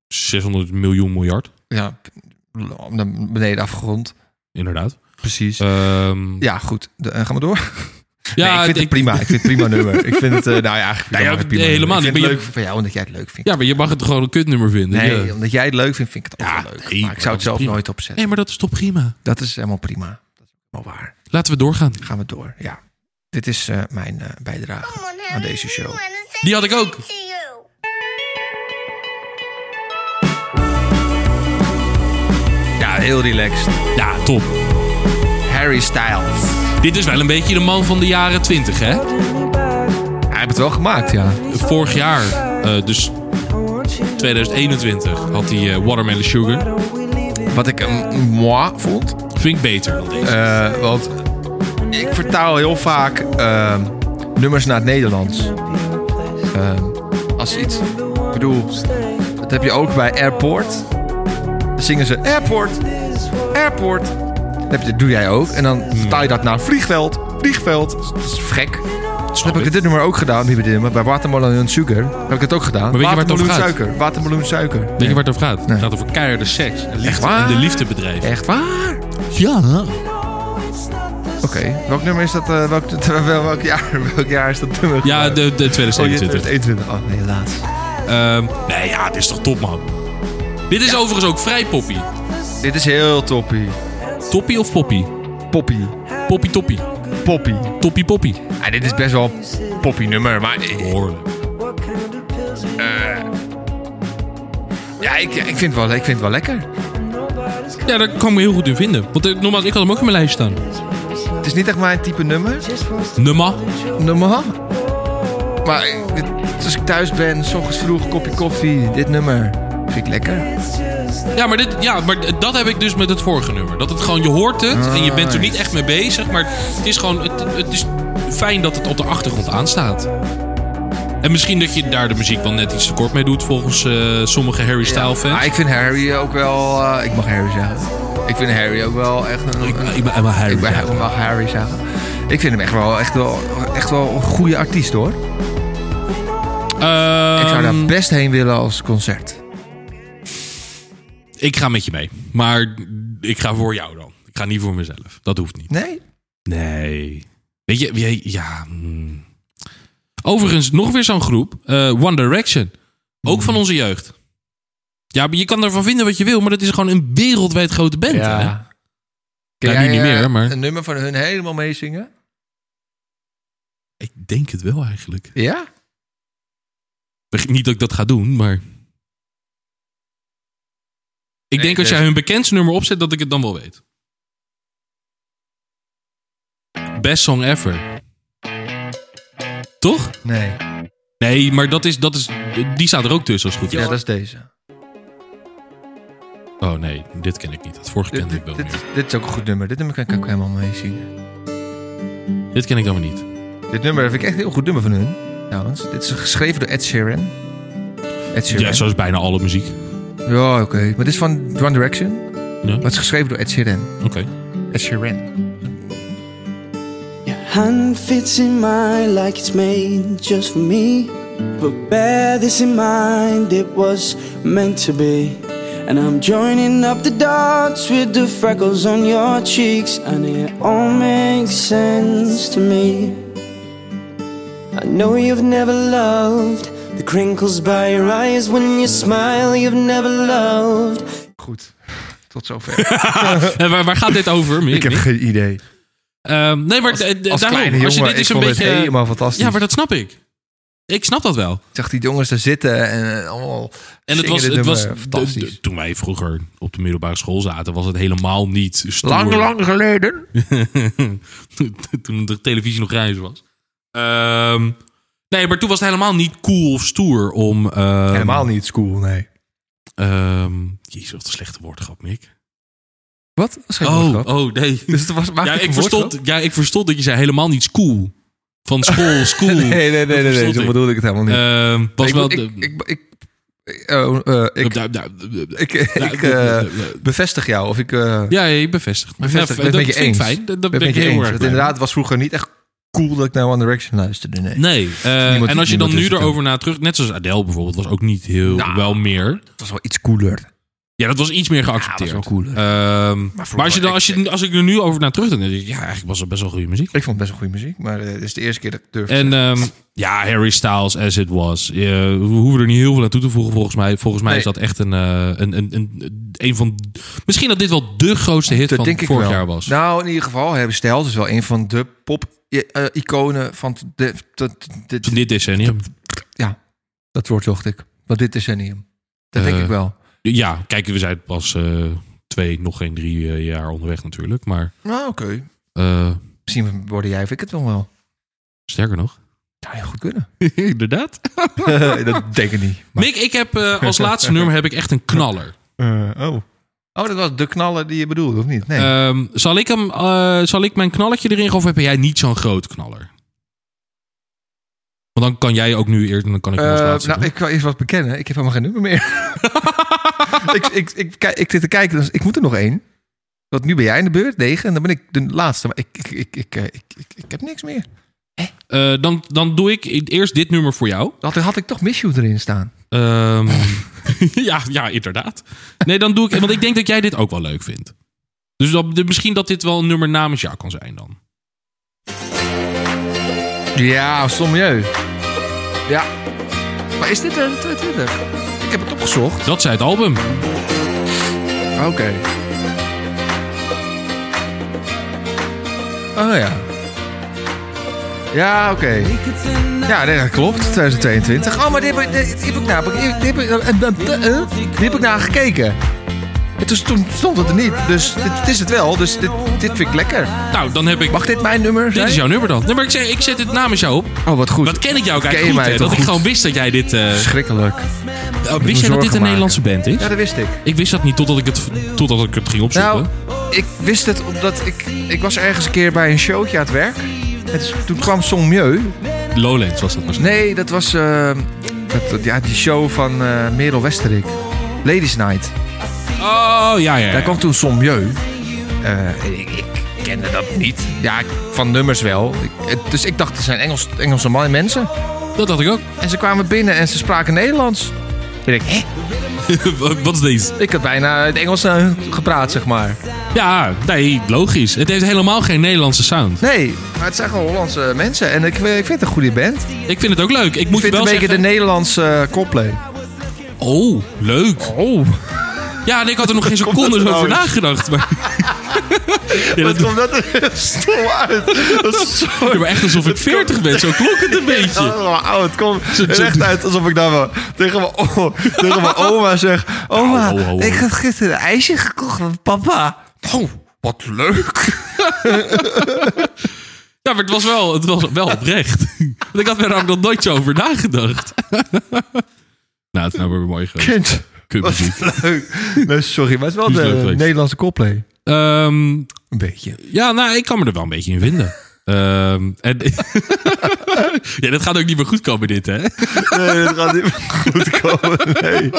A: 600 miljoen miljard,
C: Ja, p- naar beneden afgerond.
A: inderdaad.
C: Precies.
A: Ehm,
C: ja, goed. De- eh, gaan we door?
A: ja,
C: nee, ik vind het prima. Ik vind
A: [LAUGHS]
C: het prima nummer. Ik vind het, eh, nou ja, eigenlijk
A: Nou ja,
C: helemaal geen prima
A: nee,
C: nummer.
A: helemaal
C: Ik
A: niet, maar
C: vind het
A: je-
C: leuk voor jou, omdat jij het leuk vindt.
A: ja, maar je mag het gewoon een kutnummer vinden.
C: Nee,
A: ja.
C: omdat jij het leuk vindt, vind ik het ook
A: Ja,
C: wel leuk.
A: nee,
C: maar ik zou
A: dat
C: het
A: is
C: zelf
A: prima.
C: nooit opzetten.
A: Nee, maar dat is toch prima?
C: Dat is helemaal prima. Dat is helemaal waar.
A: Laten we doorgaan.
C: Gaan we door, ja. Dit is eh, mijn eh, bijdrage aan deze show.
A: Die had ik ook.
C: Ja, heel relaxed.
A: Ja, top.
C: Harry Styles.
A: Dit is wel een beetje de man van de jaren 20, hè?
C: Hij heeft het wel gemaakt, ja.
A: Vorig jaar, eh, dus 2021, had hij eh, Watermelon Sugar.
C: Wat ik een moi vond.
A: Vind ik beter dan deze.
C: eh, want ik vertaal heel vaak eh, nummers naar het Nederlands. Eh, als iets... Ik bedoel, dat heb je ook bij Airport. Dan zingen ze Airport, Airport. heb je, doe jij ook. En dan
A: Hmm.
C: vertaal je dat naar vliegveld. Vliegveld. Dat is gek. Toen heb ik dit nummer ook gedaan, wie bedoelt me, bij Watermelon and Sugar. Heb ik het ook gedaan.
A: weet je waar het over
C: Watermeloen
A: gaat?
C: suiker. Watermeloen suiker.
A: Weet je waar het over gaat?
C: Nee.
A: Het gaat over keiharde seks. En, liefde,
C: waar?
A: en de liefdebedrijf.
C: Echt waar?
A: Ja.
C: Oké. Welk nummer is dat? eh, welk, [LAUGHS] wel- welk, jaar, welk jaar is dat nummer?
A: Ja, de, de
C: Oh, je-
A: 2021.
C: 21. Oh, helaas.
A: Ehm, nee, ja, dit is toch top, man. Dit is overigens ook vrij poppy.
C: Dit is heel toppie.
A: Toppy of poppy?
C: Poppy.
A: Poppy toppy.
C: Poppy.
A: Toppy poppy.
C: Ja, dit is best wel een poppy nummer, maar eh,
A: Behoorlijk.
C: ja, ik, ik, vind het wel, ik vind het wel lekker.
A: Ja, daar kan ik me heel goed in vinden. Want eh, nogmaals, ik had hem ook in mijn lijst staan.
C: Het is niet echt mijn type nummer.
A: Nummer.
C: Nummer. Maar eh, dit- als ik thuis ben, s ochtends vroeg, kopje koffie, dit nummer. Vind ik lekker.
A: Ja maar, dit, ja, maar dat heb ik dus met het vorige nummer. Dat het gewoon, je hoort het en je bent er niet echt mee bezig. Maar het is gewoon, het, het is fijn dat het op de achtergrond aanstaat. En misschien dat je daar de muziek wel net iets te kort mee doet, volgens eh, sommige Harry Style fans.
C: Maar ik vind Harry ook wel... eh, ik mag Harry zeggen. Ik vind Harry ook wel echt een... een-
A: Ah, ben helemaal Harry.
C: ik ben
A: Styles.
C: ik mag Harry zeggen. Ik vind hem echt wel, echt wel, echt wel een goede artiest, hoor. ik zou
A: Ehm,
C: daar best heen willen als concert.
A: ik ga met je mee. Maar ik ga voor jou dan. Ik ga niet voor mezelf. Dat hoeft niet.
C: Nee?
A: Nee. Weet je, wie- ja. mm. Overigens, nog weer zo'n groep. eh, One Direction. Ook van onze jeugd. Ja, maar je kan ervan vinden wat je wil, maar dat is gewoon een wereldwijd grote band. hè?
C: Kan
A: Ja, nu Nou, niet
C: eh,
A: meer, maar-
C: een nummer van hun helemaal meezingen?
A: Ik denk het wel eigenlijk.
C: Ja?
A: Niet dat ik dat ga doen, maar. Ik denk als
C: dus-
A: jij hun bekendste nummer opzet, dat ik het dan wel weet. Best song ever. Toch?
C: Nee.
A: Nee, maar dat is, dat is, die staat er ook tussen als het goed is.
C: Ja, dat is deze.
A: Oh nee, dit ken ik niet. Het vorige
C: Dit,
A: kende ik
C: dit,
A: wel
C: dit,
A: meer.
C: dit is ook een goed nummer. Dit nummer kan ik ook helemaal meezingen.
A: Dit ken ik dan weer niet.
C: Dit nummer vind ik echt een heel goed nummer van hun. Trouwens, dit is geschreven door Ed Sheeran. Ed Sheeran.
A: Ja, zoals bijna alle muziek.
C: Ja, oké. Maar dit is van One Direction.
A: Ja.
C: Maar het is geschreven door Ed Sheeran.
A: Oké.
C: Ed Sheeran.
J: Hand fits in mine like it's made just for me. But bear this in mind, it was meant to be. And I'm joining up the dots with the freckles on your cheeks, and it all makes sense to me. I know you've never loved the crinkles by your eyes when you smile, you've never loved.
C: Goed. [LAUGHS] Tot zover.
A: Eh, waar, waar gaat dit over? Meer
C: [LAUGHS] ik heb
A: niet?
C: geen idee.
A: Ehm, nee, maar eh,
C: Als
A: daarom,
C: kleine
A: als je
C: jongen,
A: dit is
C: ik
A: een
C: vond
A: beetje...
C: het helemaal fantastisch.
A: ja, maar dat snap ik. Ik snap dat wel.
C: Ik zag die jongens daar zitten en eh, allemaal
A: En het
C: zingen
A: was,
C: dit
A: het was
C: nummer. fantastisch.
A: de- de- toen wij vroeger op de middelbare school zaten, was het helemaal niet stoer.
C: lang, lang geleden.
A: Toen- [LAUGHS] toen de televisie nog grijs was. Ehm, nee, maar toen was het helemaal niet cool of stoer om... ehm,
C: Helemaal niet school, nee.
A: ehm, jezus, wat een slechte woordgrap, Mick.
C: Wat? Dat is geen
A: Oh,
C: woordgrap.
A: oh, nee.
C: Dus het was, maak
A: Ja
C: ik
A: ik,
C: een
A: verstond,
C: woordgrap?
A: ja, ik verstond dat je zei helemaal niet school. Van
C: [LAUGHS]
A: school, school.
C: Nee, nee, nee, nee, nee,
A: verstond
C: zo
A: ik.
C: bedoelde ik het helemaal niet.
A: Ehm, was
C: ik,
A: wel...
C: ik,
A: de-
C: ik, ik, ik- oh, eh, ik,
A: da- da- da- da-
C: ik, ik eh, bevestig jou. Of ik, eh,
A: ja, je bevestigt. me.
C: bevestig,
A: Ja,
C: ik ben
A: dat
C: het met je
A: vind
C: eens.
A: ik fijn. Dat, dat
C: ben
A: ben
C: het
A: ik
C: met je
A: heel
C: eens.
A: erg blij
C: Want
A: mee.
C: inderdaad, het was vroeger niet echt cool dat ik naar One Direction luisterde. Nee.
A: Nee. eh,
C: Niemand-
A: en als je dan
C: niemand
A: nu
C: is het
A: erover na terug... Net zoals Adele bijvoorbeeld, was ook niet heel...
C: Nou.
A: Wel meer.
C: Het was wel iets cooler.
A: Ja, dat was iets meer geaccepteerd.
C: Ja, dat was wel cooler.
A: Ehm, maar
C: vroeger
A: als, je dan, als,
C: echt-
A: je, als ik er nu over naar terug denk, denk ik... Ja, eigenlijk was het best wel goede muziek.
C: Ik vond het best wel goede muziek, maar eh, het is de eerste keer dat ik durf.
A: En ehm, ja, Harry Styles, as it was. Eh, we hoeven er niet heel veel aan toe te voegen, volgens mij. Volgens mij
C: Nee.
A: is dat echt een, eh, een, een, een, een van... Misschien dat dit wel de grootste hit
C: dat
A: van
C: denk ik
A: vorig
C: wel.
A: jaar was.
C: Nou, in ieder geval, Harry Styles is wel een van de pop-iconen van de, de, de-
A: Van dit decennium.
C: Dat wordt zocht ik. Want dit decennium. Dat denk
A: Eh,
C: ik wel.
A: Ja, kijk, we zijn pas eh, twee, nog geen drie eh, jaar onderweg natuurlijk. Maar
C: Nou, oké.
A: eh,
C: Misschien worden jij of ik het dan wel.
A: sterker nog.
C: Zou heel goed [LAUGHS] kunnen.
A: Inderdaad.
C: dat denk ik niet.
A: Mick, ik heb eh, als laatste nummer heb ik echt een knaller.
C: oh. Eh, Oh, dat was de knallen die je bedoelde, of niet? Nee.
A: Ehm, zal, ik hem, eh, zal ik mijn knalletje erin gooien of heb jij niet zo'n groot knaller? Want dan kan jij ook nu eerst en dan kan ik hem als
C: Eh,
A: laatste
C: nou,
A: doen.
C: ik kan eerst wat bekennen. Ik heb [LAUGHS] helemaal geen nummer meer. ik, ik, ik, kijk- ik zit te kijken, dus ik moet er nog één. Want nu ben jij in de beurt, negen. En dan ben ik de laatste. Maar ik, ik, ik, ik, eh, ik, ik, ik heb niks meer.
A: Eh, dan, dan doe ik i- eerst dit nummer voor jou.
C: Had, had ik toch Miss You erin staan?
A: Ehm,
C: [LAUGHS]
A: [LAUGHS] ja, ja, inderdaad. Nee, dan doe ik... Want ik denk dat jij dit ook wel leuk vindt. Dus dat, de- misschien dat dit wel een nummer namens jou kan zijn dan.
C: Ja, sommelieu. Ja. Maar is dit eh, tw- Twitter? Ik heb het opgezocht.
A: Dat zei het album.
C: Ah, Oké. Oh ja. Ja, oké. Ja, nee, dat klopt. 2022. Oh, maar dit heb ik, dit heb ik naar dit heb ik, eh, eh, eh, eh, dit heb ik naar gekeken. En toen stond- stond het er niet. Dus dit, dit is het wel. Dus dit, dit vind ik lekker.
A: Nou, dan heb ik...
C: Mag dit mijn nummer
A: Dit
C: zijn?
A: is jouw nummer dan. Nee, maar ik, zeg, ik zet dit namens jou op.
C: Oh, wat goed.
A: Dat ken ik jou ook
C: Ken je
A: eigenlijk goed,
C: mij
A: hè?
C: toch
A: Dat ik
C: goed?
A: gewoon wist dat jij dit... eh,
C: Schrikkelijk. me
A: wist jij dat dit
C: zorgen
A: een
C: maken.
A: Nederlandse band is?
C: Ja, dat wist ik.
A: Ik wist dat niet totdat ik het, totdat ik het ging opzoeken.
C: Nou, ik wist het omdat ik... Ik was ergens een keer bij een showtje aan het werk. En toen kwam Songmieu.
A: Lowlands was dat misschien.
C: Nee, dat was... eh, dat- dat- ja, die show van eh, Merel Westerik. Ladies Night.
A: Oh, ja, ja.
C: Daar kwam toen Sommieu. ik, ik kende dat niet. Ja, ik- van nummers wel. Ik- het- dus ik dacht, het zijn Engels, Engelse man- mensen.
A: Dat had ik ook. [LAUGHS]
C: En ze kwamen binnen en ze spraken Nederlands. Ik dacht, hè?
A: Wat is deze?
C: Ik had bijna het Engels naar hun gepraat, zeg maar.
A: Ja, nee, logisch. Het heeft helemaal geen Nederlandse sound.
C: Nee, maar het zijn gewoon Hollandse mensen. En ik, eh, ik vind het een goede band.
A: Ik vind het ook leuk. Ik
C: Ik
A: moet
C: vind
A: wel
C: het een beetje
A: zeggen...
C: de Nederlandse eh, Coldplay.
A: Oh, leuk.
C: Oh,
A: Ja, en ik had
C: [LAUGHS]
A: er nog geen seconde over nagedacht. Maar... Ja, dat-
C: komt dat er [LAUGHS] stom uit? Dat is zo...
A: Ja, maar echt alsof ik 40 ben, zo klonk
C: [LAUGHS]
A: het een beetje.
C: Oh, het komt
A: Zo- zo-
C: echt uit alsof ik daar wel tegen mijn, o- tegen mijn oma zeg... Oma,
A: Au, au, au,
C: ik
A: au.
C: heb gisteren een ijsje gekocht van papa. Oh, wat leuk.
A: Ja, maar het was wel, het was wel oprecht. [LAUGHS] Want ik had er ook nog nooit zo over nagedacht. [LAUGHS] nou, het is nou weer mooi geweest.
C: [LAUGHS] Kind,
A: Kutmuziek.
C: wat leuk. Nee, sorry, maar het is wel
A: Die is
C: de
A: leuk geweest.
C: Nederlandse Coldplay.
A: Ehm,
C: Een beetje.
A: ja, nou, ik kan me er wel een beetje in
C: [LAUGHS]
A: vinden. Ehm, en... [LAUGHS] ja, dat gaat ook niet meer goed komen, dit, hè?
C: Nee, dat gaat niet [LAUGHS] meer goed komen. Nee.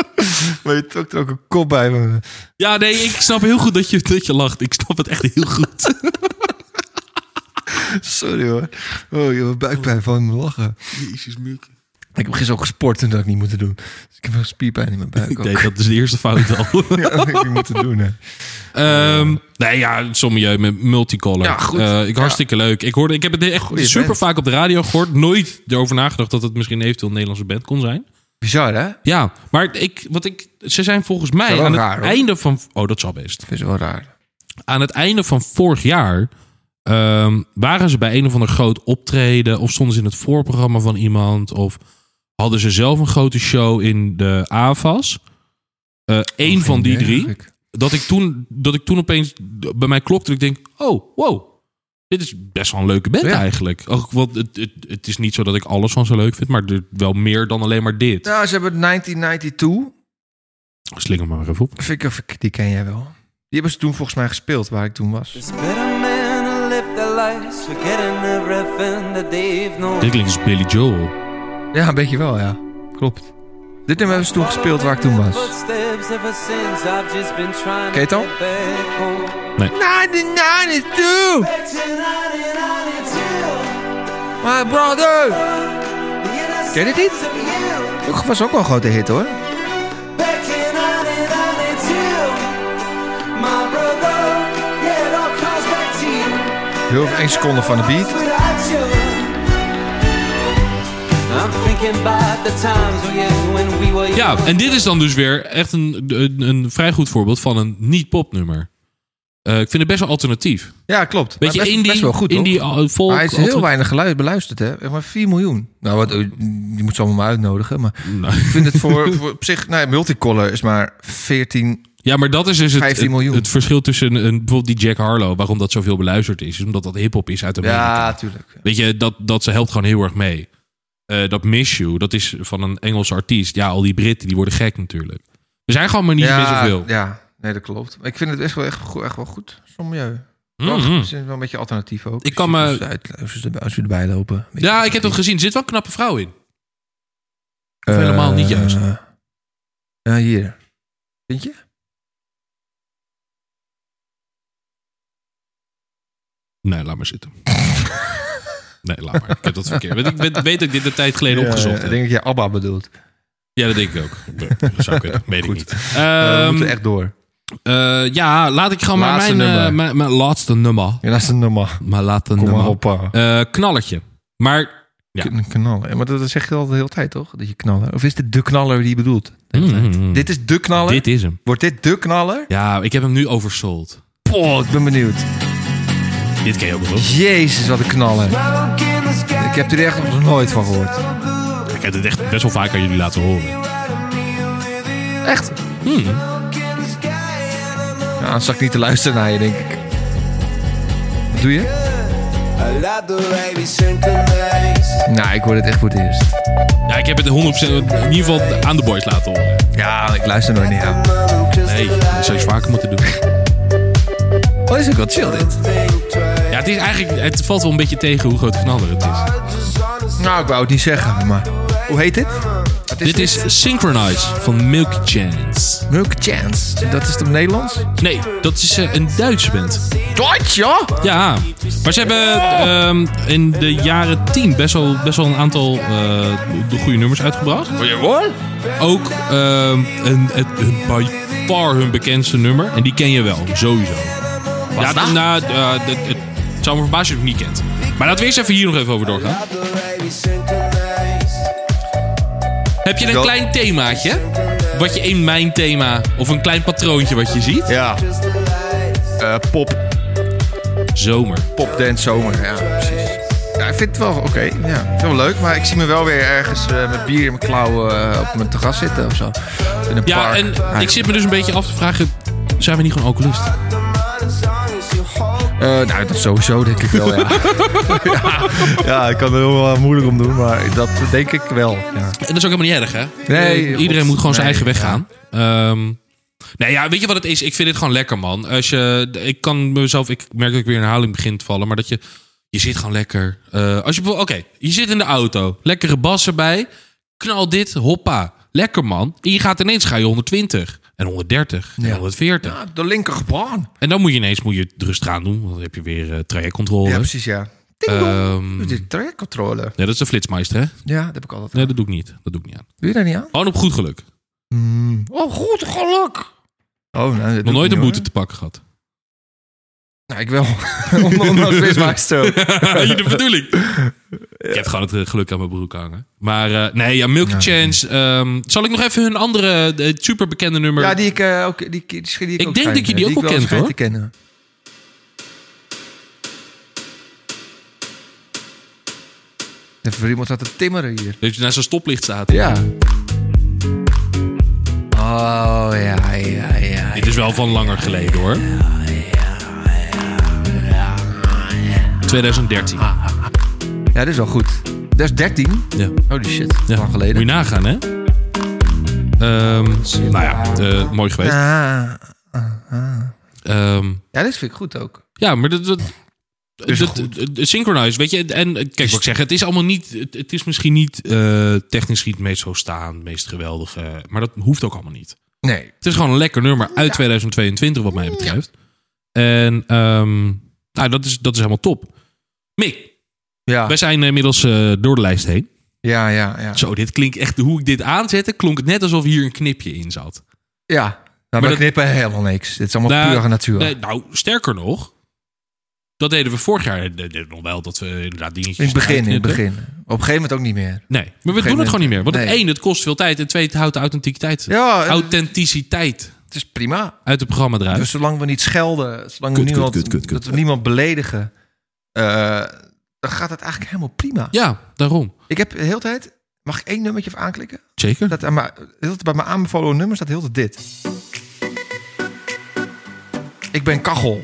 C: Maar je trok er ook een kop bij me.
A: Ja, nee, ik snap heel goed dat je, dat je lacht. Ik snap het echt heel
C: [LAUGHS]
A: goed.
C: Sorry hoor. Oh, je hebt buikpijn van me lachen.
A: Jezus, Mieke.
C: Ik heb gisteren ook gesport en dat had ik niet moeten doen. Dus ik heb wel spierpijn in mijn buik
A: Ik
C: ook.
A: deed dat is de eerste fout
C: [LAUGHS]
A: al.
C: Ja, [LAUGHS] dat had ik niet moeten doen, hè.
A: Ehm, nee, ja, sommige eh, met multicolor.
C: Ja, goed.
A: Eh, ik, hartstikke leuk. Ik, hoorde, ik heb het echt
C: Goeie
A: super
C: band.
A: vaak op de radio gehoord. Nooit erover nagedacht dat het misschien eventueel een Nederlandse band kon zijn.
C: Bizar, hè?
A: Ja, maar ik, wat ik, ze zijn volgens
C: Ja,
A: mij
C: wel
A: aan
C: raar,
A: het
C: hoor.
A: einde van... Oh, dat zal best.
C: Vind is wel raar.
A: Aan het einde van vorig jaar ehm, waren ze bij een of ander groot optreden... of stonden ze in het voorprogramma van iemand... of hadden ze zelf een grote show in de AFAS. Eén Eén Eh, van die drie dat ik toen, dat ik toen opeens bij mij klopte. Dat ik denk, oh, wow. Dit is best wel een leuke band
C: Ja.
A: eigenlijk. Ook, want het, het, het is niet zo dat ik alles van ze leuk vind. Maar er, wel meer dan alleen maar dit.
C: Nou, ze hebben 1992.
A: Slinger maar even op.
C: Vind ik, of ik- die ken jij wel. Die hebben ze toen volgens mij gespeeld, waar ik toen was.
I: It's better men who live their lives forgetting everything that they've known.
A: Dit klinkt als Billy Joel.
C: Ja, een beetje wel, ja. Klopt. Dit nummer hebben ze toen gespeeld waar ik toen was.
I: Footsteps ever since I've just been trying
C: Ken je het al?
I: to get back home.
C: 1992! My brother! Ken je dit niet? Dat was ook wel een grote hit, hoor. Heel veel één seconde van de beat.
I: I'm thinking about the times we had when we were young.
A: Ja, en dit is dan dus weer echt een, een, een vrij goed voorbeeld van een niet-popnummer. Eh, ik vind het best wel alternatief.
C: Ja, klopt.
A: Weet je,
C: Maar best,
A: indie,
C: best wel goed,
A: indie
C: hoor.
A: eh, folk.
C: Maar hij is heel
A: alternatief-
C: weinig geluid beluisterd, hè? Echt maar 4 miljoen. Nou, wat, eh, je moet ze allemaal maar uitnodigen. Maar
A: Nou,
C: ik vind het voor, voor op zich... Nee, Multicolor is maar 14...
A: Ja, maar dat is dus het,
C: 15
A: het,
C: miljoen.
A: het verschil tussen een, bijvoorbeeld die Jack Harlow, waarom dat zoveel beluisterd is. is Omdat dat hip-hop is uit Amerika.
C: Ja, tuurlijk.
A: Weet je, dat, dat ze helpt gewoon heel erg mee. Eh, dat Miss You, dat is van een Engelse artiest. Ja, al die Britten, die worden gek natuurlijk. Er zijn gewoon manieren niet meer
C: ja,
A: zoveel.
C: ja, nee, dat klopt. Maar ik vind het echt wel, echt, go- echt wel goed. Sommige...
A: Mhm.
C: Het is wel een beetje alternatief ook.
A: Ik kan me-
C: Als je uit- Als je, erbij- als je erbij lopen. Een beetje
A: Ja, ik heb dat
C: alternatief.
A: gezien. Er zit wel een knappe vrouw in.
C: Eh,
A: helemaal niet juist.
C: ja, hier. Vind je?
A: Nee, laat maar zitten. [LAUGHS] nee, laat maar. Ik heb dat verkeerd. Want ik weet, weet dat ik dit een tijd geleden opgezocht
C: Eh, Ik
A: heb.
C: denk dat je ABBA bedoelt.
A: Ja, dat denk ik ook. Zou kunnen. Weet
C: [LAUGHS]
A: ik niet.
C: Eh, we
A: Ehm,
C: moeten echt door.
A: eh, ja, laat ik gewoon maar
C: Laatste
A: mijn, eh,
C: nummer.
A: mijn, mijn laatste nummer.
C: Ja, dat is een nummer.
A: Mijn laatste
C: Kom maar
A: nummer.
C: op. pa.
A: Eh, knalletje. Maar ja.
C: K- Knallen. Ja, Maar dat zeg je al de hele tijd, toch? Dat je knallen. Of is dit de knaller die je bedoelt?
A: mm,
C: Dit is de knaller.
A: dit is hem.
C: Wordt dit de knaller?
A: Ja, ik heb hem nu oversold.
C: Oh, ik ben benieuwd.
A: Dit ken je ook wel. toch?
C: Jezus, wat een knaller. Ik heb er echt nog nooit van gehoord.
A: Ik heb dit echt best wel vaak aan jullie laten horen.
C: Echt?
A: Hmm.
C: Ja, dan zat ik niet te luisteren naar je, denk ik. Wat doe je? Nou, ik hoor dit echt voor het eerst.
A: Ja, ik heb het 100% in ieder geval aan de boys laten horen.
C: Ja, ik luister nooit naar jou.
A: Nee, dat zou je vaker moeten doen.
C: Oh, is ook wel chill dit.
A: Ja, het is eigenlijk... Het valt wel een beetje tegen hoe groot knaller het is.
C: Nou, ik wou het niet zeggen, maar... Hoe heet dit? Wat
A: Dit is Synchronize van Milky Chance.
C: Milk Chance. Dat is het op Nederlands?
A: Nee, dat is eh, een Duitse band.
C: Deutsch, ja?
A: Ja, maar ze hebben ehm, in de jaren 10 best wel, best wel een aantal eh, de goede nummers uitgebracht.
C: Jawohl.
A: Ook ehm, een, het, hun by far hun bekendste nummer. En die ken je wel, sowieso. ja,
C: dat?
A: nou, eh, dat- het, het zou me verbazen als je het niet kent. Maar laten we eerst even hier nog even over doorgaan. Heb je een
C: Wel-
A: klein themaatje? Wat je in mijn thema, of een klein patroontje wat je ziet?
C: Ja. Eh, pop.
A: Zomer.
C: Popdance zomer, ja, precies. Ja, ik vind het wel oké. Ja, ik vind het wel leuk, maar ik zie me wel weer ergens eh, met bier in mijn klauwen eh, op mijn terras zitten of zo. In een
A: Ja,
C: park.
A: en
C: Ah,
A: ik zit me dus een beetje af te vragen, zijn we niet gewoon alcoholist?
C: eh, nou, dat sowieso denk ik wel, ja. ja. ja, ik kan er heel eh, moeilijk om doen, maar dat denk ik wel. Ja.
A: En dat is ook helemaal niet erg, hè?
C: Nee,
A: Eh, Iedereen
C: God,
A: moet gewoon zijn
C: nee,
A: eigen weg
C: ja.
A: gaan. Ehm, nee, ja, weet je wat het is? Ik vind dit gewoon lekker, man. Als je, ik kan mezelf... Ik merk dat ik weer in herhaling begin te vallen. Maar dat je... Je zit gewoon lekker. Eh, als je bijvoorbeeld... Oké, je zit in de auto. Lekkere bas erbij. Knal dit. Hoppa. Lekker, man. En je gaat ineens ga je 120. En 130. En
C: Ja.
A: 140.
C: Ah, De linkerbaan.
A: En dan moet je ineens moet je het rustig aan doen. Want dan heb je weer eh, trajectcontrole.
C: Ja, precies, ja. Ding dong.
A: Ehm,
C: Dit is trajectcontrole.
A: nee, dat is de flitsmeister, hè?
C: Ja, dat heb ik altijd.
A: Nee, dat doe ik niet. Dat doe ik niet aan.
C: Doe je daar niet aan?
A: Gewoon op goed geluk.
C: Oh, goed geluk. Oh, nou, dat
A: Nog
C: doe ik
A: nooit
C: niet,
A: een boete
C: hoor.
A: te pakken gehad. [LAUGHS]
C: Nou, ik wel. Onder andere Quizmaster.
A: Ja, de bedoeling. Ik heb gewoon het eh, geluk aan mijn broek hangen. Maar eh, nee, ja, Milky Chance. ehm, zal ik nog even hun andere eh, superbekende nummer...
C: Ja, die ik eh, ook. Die, die, die, die ik
A: Ik
C: ook
A: denk dat
C: schijn,
A: ik die
C: eh,
A: ook wel
C: wel
A: kent,
C: schijn
A: hoor.
C: te kennen. Even voor iemand aan te timmeren hier.
A: Dat je naast zo'n stoplicht staat.
C: Ja. Oh ja, ja, ja.
A: Dit is wel van langer geleden, hoor. 2013.
C: Ah. Ja, dit is wel goed. Dat is 13.
A: Ja.
C: Holy shit,
A: ja.
C: lang
A: Moet je
C: geleden.
A: nagaan, hè? Ehm, nou ja, eh, mooi geweest. nou-
C: Ah,
A: Ehm,
C: ja, dit vind ik goed ook.
A: Ja, maar dat... dat
C: is
A: dat-
C: goed.
A: dat- dat- synchronize, weet je. En eh, kijk, wat ik zeg, het is allemaal niet... Het, het is misschien niet eh, technisch niet het meest zo staan, het meest geweldige. Maar dat hoeft ook allemaal niet.
C: Nee.
A: Het is gewoon een lekker nummer uit 2022, wat mij betreft. En ehm, nou, dat, is, dat is helemaal top. Mick,
C: Ja,
A: wij zijn inmiddels eh, door de lijst heen.
C: ja, ja. Ja,
A: Zo, dit klinkt echt... Hoe ik dit aanzette, klonk het net alsof hier een knipje in zat.
C: ja. Nou, maar we
A: dat-
C: knippen helemaal niks. Dit is allemaal
A: Nou,
C: pure natuur.
A: nee, nou, sterker nog... Dat deden we vorig jaar eh, deden we nog wel, dat we inderdaad dingetjes...
C: in het begin, in het
A: uitknipten.
C: begin. Op een gegeven moment ook niet meer.
A: Nee, maar we
C: gegeven
A: doen het
C: moment-
A: gewoon niet meer. Want
C: Nee.
A: één, het kost veel tijd. En twee, het houdt de authenticiteit.
C: Ja, eh,
A: Authenticiteit
C: het is prima.
A: uit het programma eruit.
C: Dus zolang we niet schelden, zolang
A: Kut,
C: we
A: kut,
C: niemand,
A: kut, kut, kut.
C: dat we niemand beledigen, eh, dan gaat het eigenlijk helemaal prima.
A: ja, daarom.
C: Ik heb de hele tijd, mag ik één nummertje even aanklikken?
A: Zeker.
C: Dat aan mijn- de hele tijd bij mijn aanbevolen nummer staat heel de tijd dit. Ik ben kachel.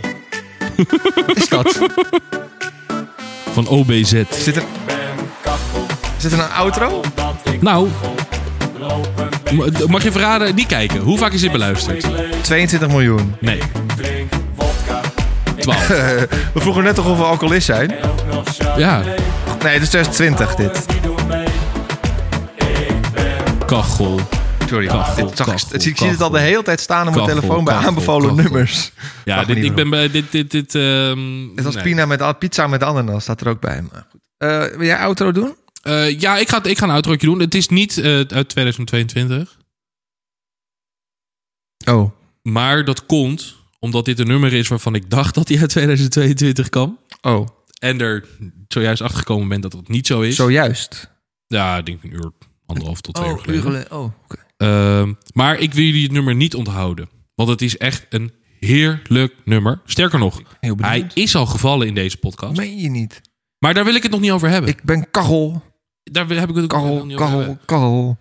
C: Wat is dat?
A: Van OBZ.
C: Zit er, zit er een outro?
A: Nou, ma- mag je verraden? Niet kijken. Hoe vaak is dit beluisterd?
C: 22 miljoen.
A: Nee. 12.
C: [LAUGHS] we vroegen net toch of we alcoholist zijn?
A: Ja,
C: Nee, het is 2020 dit.
A: kachel.
C: Sorry,
A: Kachel,
C: dit zag ik-
A: kachel,
C: het- ik zie het al de
A: kachel.
C: hele tijd staan op mijn
A: Kachel,
C: telefoon bij
A: kachel,
C: aanbevolen
A: kachel.
C: nummers.
A: Ja,
C: Vraag me
A: dit,
C: niet
A: ik ben bij dit. dit, dit ehm,
C: Net als
A: nee.
C: pina met, pizza met ananas staat er ook bij. Maar goed. Eh, wil jij outro doen?
A: Eh, ja, ik ga, ik ga een outrootje doen. Het is niet eh, uit 2022.
C: Oh.
A: Maar dat komt omdat dit een nummer is waarvan ik dacht dat hij uit 2022 kwam.
C: Oh.
A: En er zojuist achter gekomen ben dat dat niet zo is.
C: Zojuist.
A: Ja, ik denk een uur, anderhalf tot twee uur geleden.
C: Oh, oké.
A: Ehm, maar ik wil jullie het nummer niet onthouden. Want het is echt een heerlijk nummer. Sterker nog,
C: Heel benieuwd.
A: hij is al gevallen in deze podcast.
C: Meen je niet?
A: Maar daar wil ik het nog niet over hebben.
C: Ik ben kachel,
A: daar wil- heb Eh. ik het ook nog
C: kachel,
A: niet over
C: kachel,
A: hebben.
C: kachel.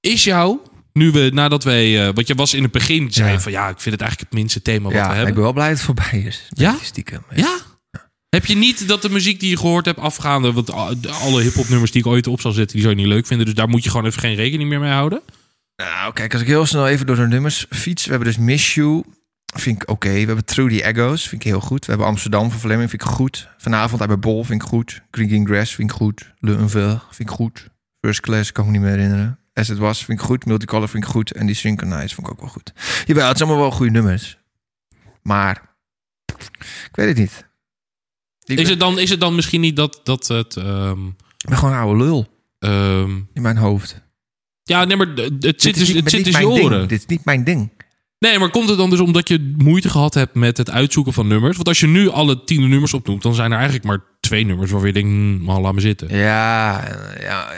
A: Is jou, nu we, nadat wij... eh, want je was in het begin, zei je van... Ja, ik vind het eigenlijk het minste thema wat
C: Ja,
A: we
C: ik
A: hebben.
C: ben wel blij dat het voorbij is.
A: Ja?
C: Beetje Stiekem.
A: Ja? Heb je niet dat de muziek die je gehoord hebt afgaande... Want a- alle hiphop nummers die ik ooit op zal zetten, die zou je niet leuk vinden. Dus daar moet je gewoon even geen rekening meer mee houden.
C: Nou, kijk, als ik heel snel even door de nummers fiets. We hebben dus Miss You. Vind ik oké. We hebben True the Echoes. Vind ik heel goed. We hebben Amsterdam van Fleming. Vind ik goed. Vanavond uit bij Bol. Vind ik goed. Green Green Grass. Vind ik goed. Le Unver. Vind ik goed. First Class. Kan ik me niet meer herinneren. As It Was. Vind ik goed. Multicolor. Vind ik goed. En die Synchronize. Vond ik ook wel goed. Jawel, het zijn allemaal wel goede nummers. Maar... Ik weet het niet. Ik
A: Is
C: ben,
A: het dan, is het dan misschien niet dat, dat het... ehm,
C: ik ben gewoon een oude lul
A: ehm,
C: in mijn hoofd.
A: ja, nee, maar d- d- het
C: Dit
A: zit dus
C: is niet-
A: het
C: dit
A: zit
C: is
A: dus je
C: mijn ding.
A: oren.
C: Dit is niet mijn ding.
A: Nee, maar komt het dan dus omdat je moeite gehad hebt met het uitzoeken van nummers? Want als je nu alle tien nummers opnoemt, dan zijn er eigenlijk maar twee nummers waarvan je denkt, hmm, nou, laat me zitten.
C: Ja, ja, ja.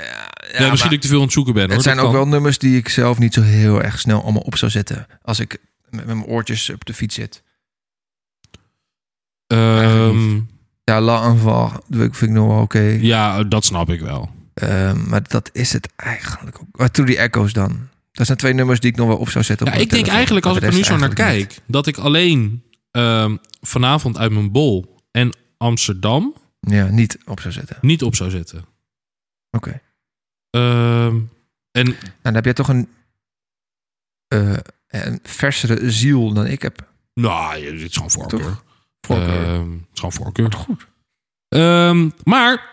A: Ja, misschien dat ik te veel aan het zoeken ben. Hoor.
C: Het zijn
A: Dat
C: ook
A: kan.
C: wel nummers die ik zelf niet zo heel erg snel allemaal op zou zetten. Als ik met met mijn oortjes op de fiets zit.
A: Ehm,
C: Eigenlijk Ja, La Anval vind ik nog wel oké.
A: ja, dat snap ik wel.
C: Ehm, maar dat is het eigenlijk ook. Maar Through the Echoes dan. Dat zijn twee nummers die ik nog wel op zou zetten.
A: Ja,
C: op
A: ik
C: mijn
A: denk
C: telefoon.
A: eigenlijk als
C: Maar
A: ik
C: de
A: er nu
C: rest
A: zo naar kijk,
C: eigenlijk
A: dat ik alleen ehm, vanavond uit mijn bol en Amsterdam
C: niet. Ja, niet op zou zetten. Oké.
A: niet op zou zetten. Ehm, en
C: Nou, dan heb jij toch een, eh, een versere ziel dan ik heb.
A: nou, het is gewoon voorkeur.
C: Toch? Voorkeur.
A: Ehm, het is gewoon voorkeur. Goed. maar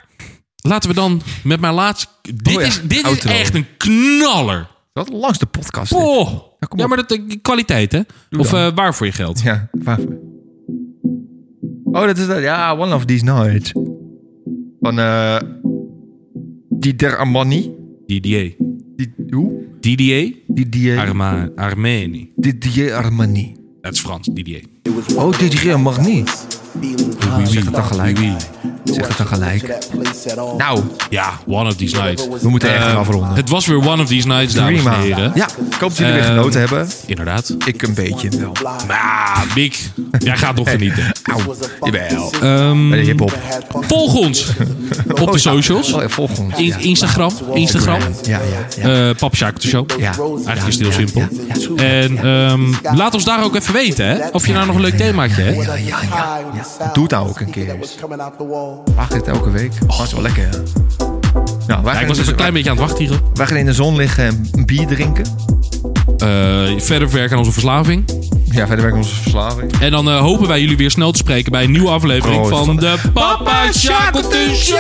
A: laten we dan met mijn laatste. Dit,
C: Oh ja,
A: is, dit is
C: outro.
A: echt een knaller.
C: Dat langs de podcast. dit.
A: Oh.
C: kom
A: Ja,
C: op.
A: maar dat eh, kwaliteit, hè?
C: Doe
A: of
C: dan.
A: eh, waar voor je geld?
C: [LAUGHS] Ja, waar- Oh, dat is dat. Ja, One of These Nights. Van eh Dider Armani.
A: DDA.
C: Die, hoe?
A: DDA?
C: Didier,
A: Arma Armeni.
C: Didier Armani.
A: Dat is Frans, DDA.
C: Oh, Didier Armani.
A: Zeg
C: het dan gelijk. Zeg het dan gelijk. Nou,
A: Ja, One of These Nights.
C: we moeten echt gaan
A: Eh,
C: afronden.
A: Het was weer One of These Nights, dames en
C: Prima.
A: heren.
C: Ja, ik hoop dat jullie weer
A: Ehm,
C: genoten hebben.
A: Inderdaad.
C: Ik een beetje wel.
A: Maar, Mick, jij gaat nog genieten.
C: Auw, jawel.
A: Ehm,
C: Bij de hiphop.
A: volg
C: [LAUGHS]
A: ons op de socials.
C: Oh, ja, volg ons.
A: In-
C: Ja,
A: Instagram. Instagram.
C: ja, ja. ja.
A: eh Pap Sjaak de Show.
C: Ja.
A: Eigenlijk is het heel simpel. Eh, En ehm, laat ons daar ook even weten, hè? Of je nou nog een leuk themaatje hebt.
C: Ja, ja, ja, ja. Doe het nou ook een keer eens. Mag dit elke week? Oh, dat is wel lekker, hè? Nou, wij,
A: Ja, ik was
C: gaan dus,
A: even een klein beetje aan het wachten hier.
C: wij gaan in de zon liggen en een bier drinken.
A: Eh, verder werken aan onze verslaving.
C: Ja, verder werken we onze verslaving.
A: En dan eh, hopen wij jullie weer snel te spreken bij een nieuwe aflevering
C: Oh,
A: van
C: van
A: de Papa Shackleton Show!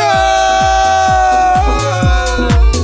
C: Show!